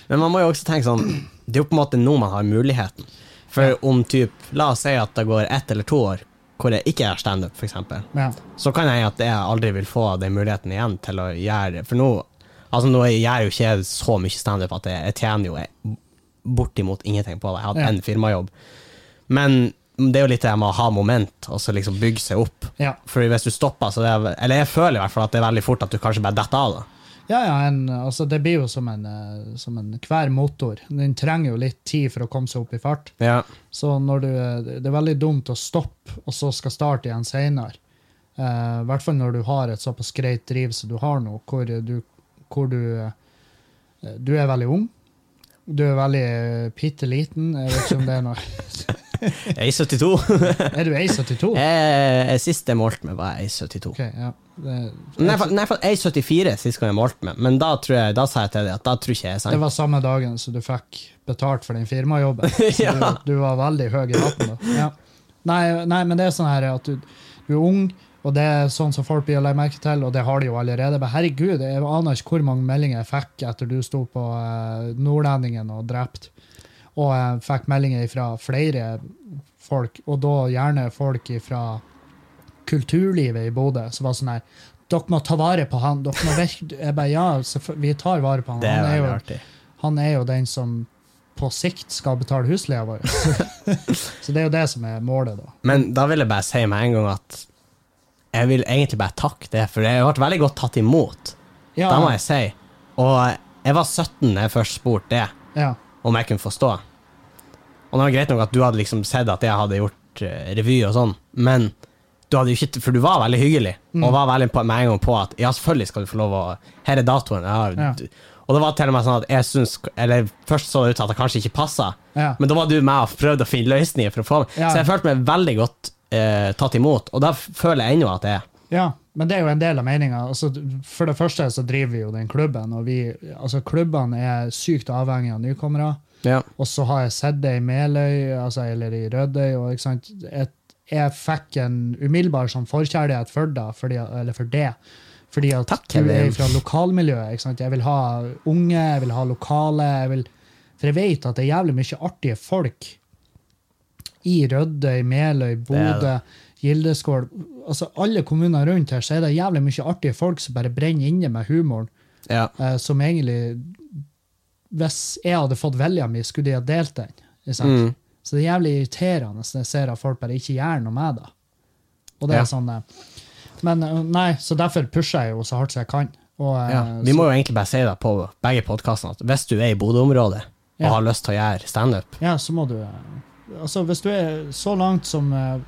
Speaker 2: Men man må jo også tenke sånn Det er jo på en måte nå man har muligheten. For om typ, La oss si at det går ett eller to år hvor jeg ikke gjør standup, f.eks.
Speaker 1: Ja.
Speaker 2: Så kan jeg at jeg aldri vil få den muligheten igjen til å gjøre det. For nå Altså nå jeg gjør jo ikke jeg så mye standup at jeg, jeg tjener jo jeg, bortimot ingenting på det. Jeg hadde
Speaker 1: Ja.
Speaker 2: én firmajobb. Men det er jo litt det med å ha moment, og så liksom bygge seg opp.
Speaker 1: Ja.
Speaker 2: For hvis du stopper, så det er, Eller jeg føler i hvert fall at det er veldig fort at du kanskje bare detter av, da.
Speaker 1: ja, ja, en, altså det blir jo som en, eh, som en hver motor. Den trenger jo litt tid for å komme seg opp i fart.
Speaker 2: Ja.
Speaker 1: Så når du, eh, det er veldig dumt å stoppe, og så skal starte igjen senere. Eh, I hvert fall når du har et såpass greit driv som du har nå, hvor du, hvor du eh, Du er veldig ung. Du er veldig eh, bitte liten. Jeg vet ikke om det er noe *laughs*
Speaker 2: Jeg er 72.
Speaker 1: Er du A72?
Speaker 2: Jeg, jeg, Eh, sist jeg målte meg, var jeg 72.
Speaker 1: Ok, ja. Det,
Speaker 2: Nei, for, nei, for jeg er 74 sist gang jeg målte meg, men da, tror jeg, da sa jeg til deg at da tror ikke jeg er
Speaker 1: det
Speaker 2: sant.
Speaker 1: var samme dagen som du fikk betalt for den
Speaker 2: *laughs*
Speaker 1: firmajobben. Så
Speaker 2: Ja.
Speaker 1: du, du var veldig høy i hatten da. Ja. Nei, nei, men det er sånn her at du, du er ung, og det er sånn som folk blir å legge merke til, og det har de jo allerede. Men herregud, jeg aner ikke hvor mange meldinger jeg fikk etter du sto på eh, Nordlendingen og drept. Og jeg fikk meldinger fra flere folk, og da gjerne folk fra kulturlivet i Bodø, som var sånn her Dere må ta vare på han. Dere må virke Jeg bare ja, selvfø- vi tar vare på han.
Speaker 2: Det er
Speaker 1: han, er
Speaker 2: veldig
Speaker 1: jo,
Speaker 2: artig.
Speaker 1: han er jo den som på sikt skal betale husleia
Speaker 2: *laughs*
Speaker 1: vår. Så det er jo det som er målet, da.
Speaker 2: Men da vil jeg bare si med en gang at jeg vil egentlig bare takke det, for jeg ble veldig godt tatt imot.
Speaker 1: Ja,
Speaker 2: Det må jeg si. Og jeg var 17 da jeg først spurte det,
Speaker 1: ja,
Speaker 2: om jeg kunne få stå. Og det var greit nok at du hadde liksom sett at jeg hadde gjort eh, revy og sånn, men du hadde jo ikke For du var veldig hyggelig,
Speaker 1: Mm.
Speaker 2: og var veldig på, med en gang på at ja, selvfølgelig skal du få lov å Her er datoen. Ja.
Speaker 1: Ja.
Speaker 2: du- Og det var til og med sånn at jeg syns Eller først så det ut til at det kanskje ikke passa,
Speaker 1: ja.
Speaker 2: men da var du med og prøvde å finne løsninger for å få meg.
Speaker 1: Ja.
Speaker 2: Så jeg følte meg veldig godt eh, tatt imot, og da f- føler jeg ennå at jeg
Speaker 1: Ja, men det er jo en del av meninga. Altså, for det første så driver vi jo den klubben, og vi, altså, klubbene er sykt avhengig av nykommere.
Speaker 2: ja.
Speaker 1: Og så har jeg sett det i Meløy, altså, eller i Rødøy. Og, ikke sant? Et, jeg fikk en umiddelbar sånn forkjærlighet for det. Fordi, eller for det. Fordi at
Speaker 2: Takk,
Speaker 1: du er
Speaker 2: Kevin.
Speaker 1: fra lokalmiljøet. Ikke sant? Jeg vil ha unge, jeg vil ha lokale. Jeg vil, for jeg vet at det er jævlig mye artige folk i Rødøy, Meløy,
Speaker 2: Det
Speaker 1: Bodø, Gildeskål. Altså, alle kommuner rundt her så er det jævlig mye artige folk som bare brenner inne med humoren
Speaker 2: Ja.
Speaker 1: eh, som egentlig Hvis jeg hadde fått velja mi, skulle de ha delt den. Ikke sant?
Speaker 2: Mm.
Speaker 1: Så det er jævlig irriterende når jeg ser at folk bare ikke gjør noe med det. Og det
Speaker 2: Ja.
Speaker 1: er sånn eh, Men eh, nei, så derfor pusher jeg jo så hardt som jeg kan. Og, eh,
Speaker 2: Ja. Vi må jo egentlig bare si det på begge podkastene, at hvis du er i Bodø-området og
Speaker 1: Ja.
Speaker 2: har lyst til å gjøre standup
Speaker 1: så, ja, så må du eh, Altså, hvis du er så langt som eh,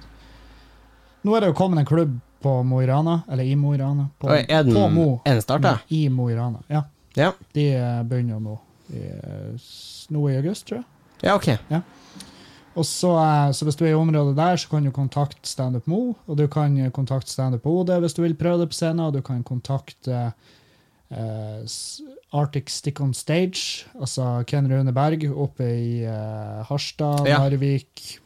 Speaker 1: Nå er det jo kommet en klubb på Mo i Rana, eller i Mo i Rana. På,
Speaker 2: Og Er den,
Speaker 1: på Mo.
Speaker 2: er den starta?
Speaker 1: I Mo i Rana, ja.
Speaker 2: Ja.
Speaker 1: De eh, begynner jo nå. I, eh, s- nå i august, tror jeg.
Speaker 2: ja, ok.
Speaker 1: Og så, eh, så hvis du er i området der, så kan du kontakte Standup Mo, og du kan eh, kontakte Standup OD hvis du vil prøve det på scenen, og du kan kontakte eh, s- Arctic Stick On Stage, altså Ken Rune Berg oppe i eh, Harstad,
Speaker 2: Ja.
Speaker 1: Narvik,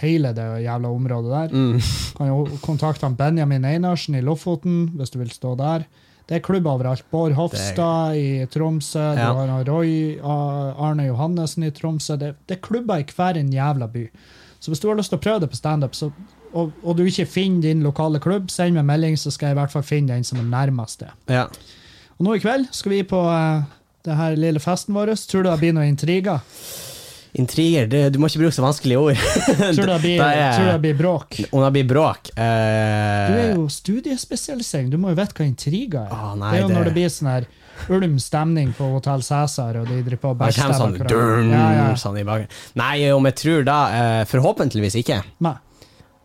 Speaker 1: hele det jævla området der.
Speaker 2: Mm.
Speaker 1: Du kan jo kontakte han Benjamin Einarsen i Lofoten hvis du vil stå der. Det er klubb overalt. Bård Hofstad i Tromsø,
Speaker 2: Ja.
Speaker 1: du har han Roy A- Arne Johannessen i Tromsø. Det, det er klubber i hver en jævla by. Så hvis du har lyst til å prøve det på standup, så- og, og du ikke finner din lokale klubb, send meg melding, så skal jeg i hvert fall finne den som er nærmest det.
Speaker 2: Ja.
Speaker 1: Og nå i kveld skal vi på eh, det her lille festen vår. Tror du det blir noen intriger?
Speaker 2: Intriger, det, du må ikke bruke så vanskelige ord.
Speaker 1: Tror du det blir,
Speaker 2: Det er-
Speaker 1: tror du det blir bråk?
Speaker 2: Om det blir bråk eh,
Speaker 1: Du er jo studiespesialisering, du må jo vite hva intriga er.
Speaker 2: Å, Ah, nei,
Speaker 1: det er jo
Speaker 2: det-
Speaker 1: når det blir sånn her ulm stemning på Hotell Cæsar, og de driver på og
Speaker 2: Det kommer
Speaker 1: backstabber
Speaker 2: sånn,
Speaker 1: hverandre.
Speaker 2: dun,
Speaker 1: ja, ja.
Speaker 2: sånn i bakgrunnen. Nei, om jeg tror da eh, Forhåpentligvis ikke.
Speaker 1: Nei,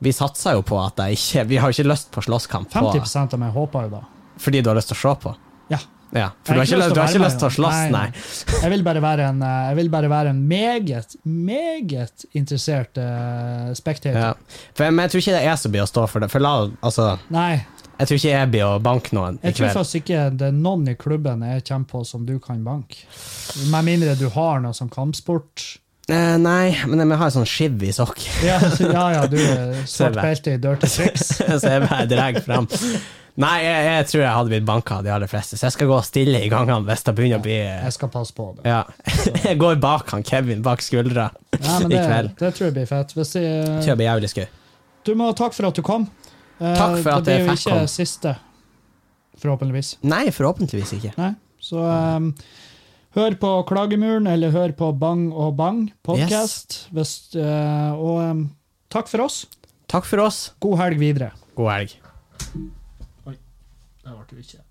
Speaker 2: Vi satser jo på at det ikke Vi har jo ikke lyst på slåsskamp. på-
Speaker 1: 50 av meg håper jo da.
Speaker 2: Fordi du har lyst til å se på?
Speaker 1: Ja.
Speaker 2: ja.
Speaker 1: Jeg
Speaker 2: For du har ikke lyst, du har
Speaker 1: være
Speaker 2: ikke lyst til
Speaker 1: med,
Speaker 2: å slåss, nei.
Speaker 1: nei. Jeg vil bare være en, eh, jeg vil bare være en meget, meget interessert eh, spektator.
Speaker 2: Ja. For jeg, men jeg tror ikke det er jeg som blir å stå for det. For la, altså,
Speaker 1: Nei,
Speaker 2: jeg tror ikke jeg blir å banke noen i
Speaker 1: jeg tror
Speaker 2: kveld.
Speaker 1: faktisk ikke det er noen i klubben jeg kommer på som du kan banke. Med mindre du har noe som kampsport.
Speaker 2: Eh, nei, men jeg har en sånn skiv i sokk,
Speaker 1: Ja, så, ja, ja, du
Speaker 2: *laughs*
Speaker 1: er
Speaker 2: Ser
Speaker 1: svart
Speaker 2: meg.
Speaker 1: belte i
Speaker 2: *laughs*
Speaker 1: dirty tricks.
Speaker 2: så jeg bare drar fram. Nei, jeg, jeg tror jeg hadde blitt banka av de aller fleste, så jeg skal gå stille i gangene hvis det begynner å bli
Speaker 1: Jeg skal passe på det.
Speaker 2: Ja. *laughs* Jeg går bak han Kevin, bak skuldra.
Speaker 1: Nei, men
Speaker 2: I
Speaker 1: det,
Speaker 2: kveld.
Speaker 1: det tror jeg blir fett. Hvis
Speaker 2: Jeg tror
Speaker 1: jeg,
Speaker 2: jeg blir jævlig skau.
Speaker 1: du må ha takk for at du kom. Eh,
Speaker 2: Takk for at
Speaker 1: det
Speaker 2: jeg
Speaker 1: blir jo
Speaker 2: fikk
Speaker 1: ikke
Speaker 2: komme.
Speaker 1: siste, forhåpentligvis.
Speaker 2: Nei, forhåpentligvis ikke.
Speaker 1: Nei, så ehm, hør på Klagemuren, eller hør på Bang og Bang podcast. Hvis, eh, og ehm, takk for oss.
Speaker 2: Takk for oss.
Speaker 1: God helg videre.
Speaker 2: God helg.
Speaker 1: Det ble jo ikke.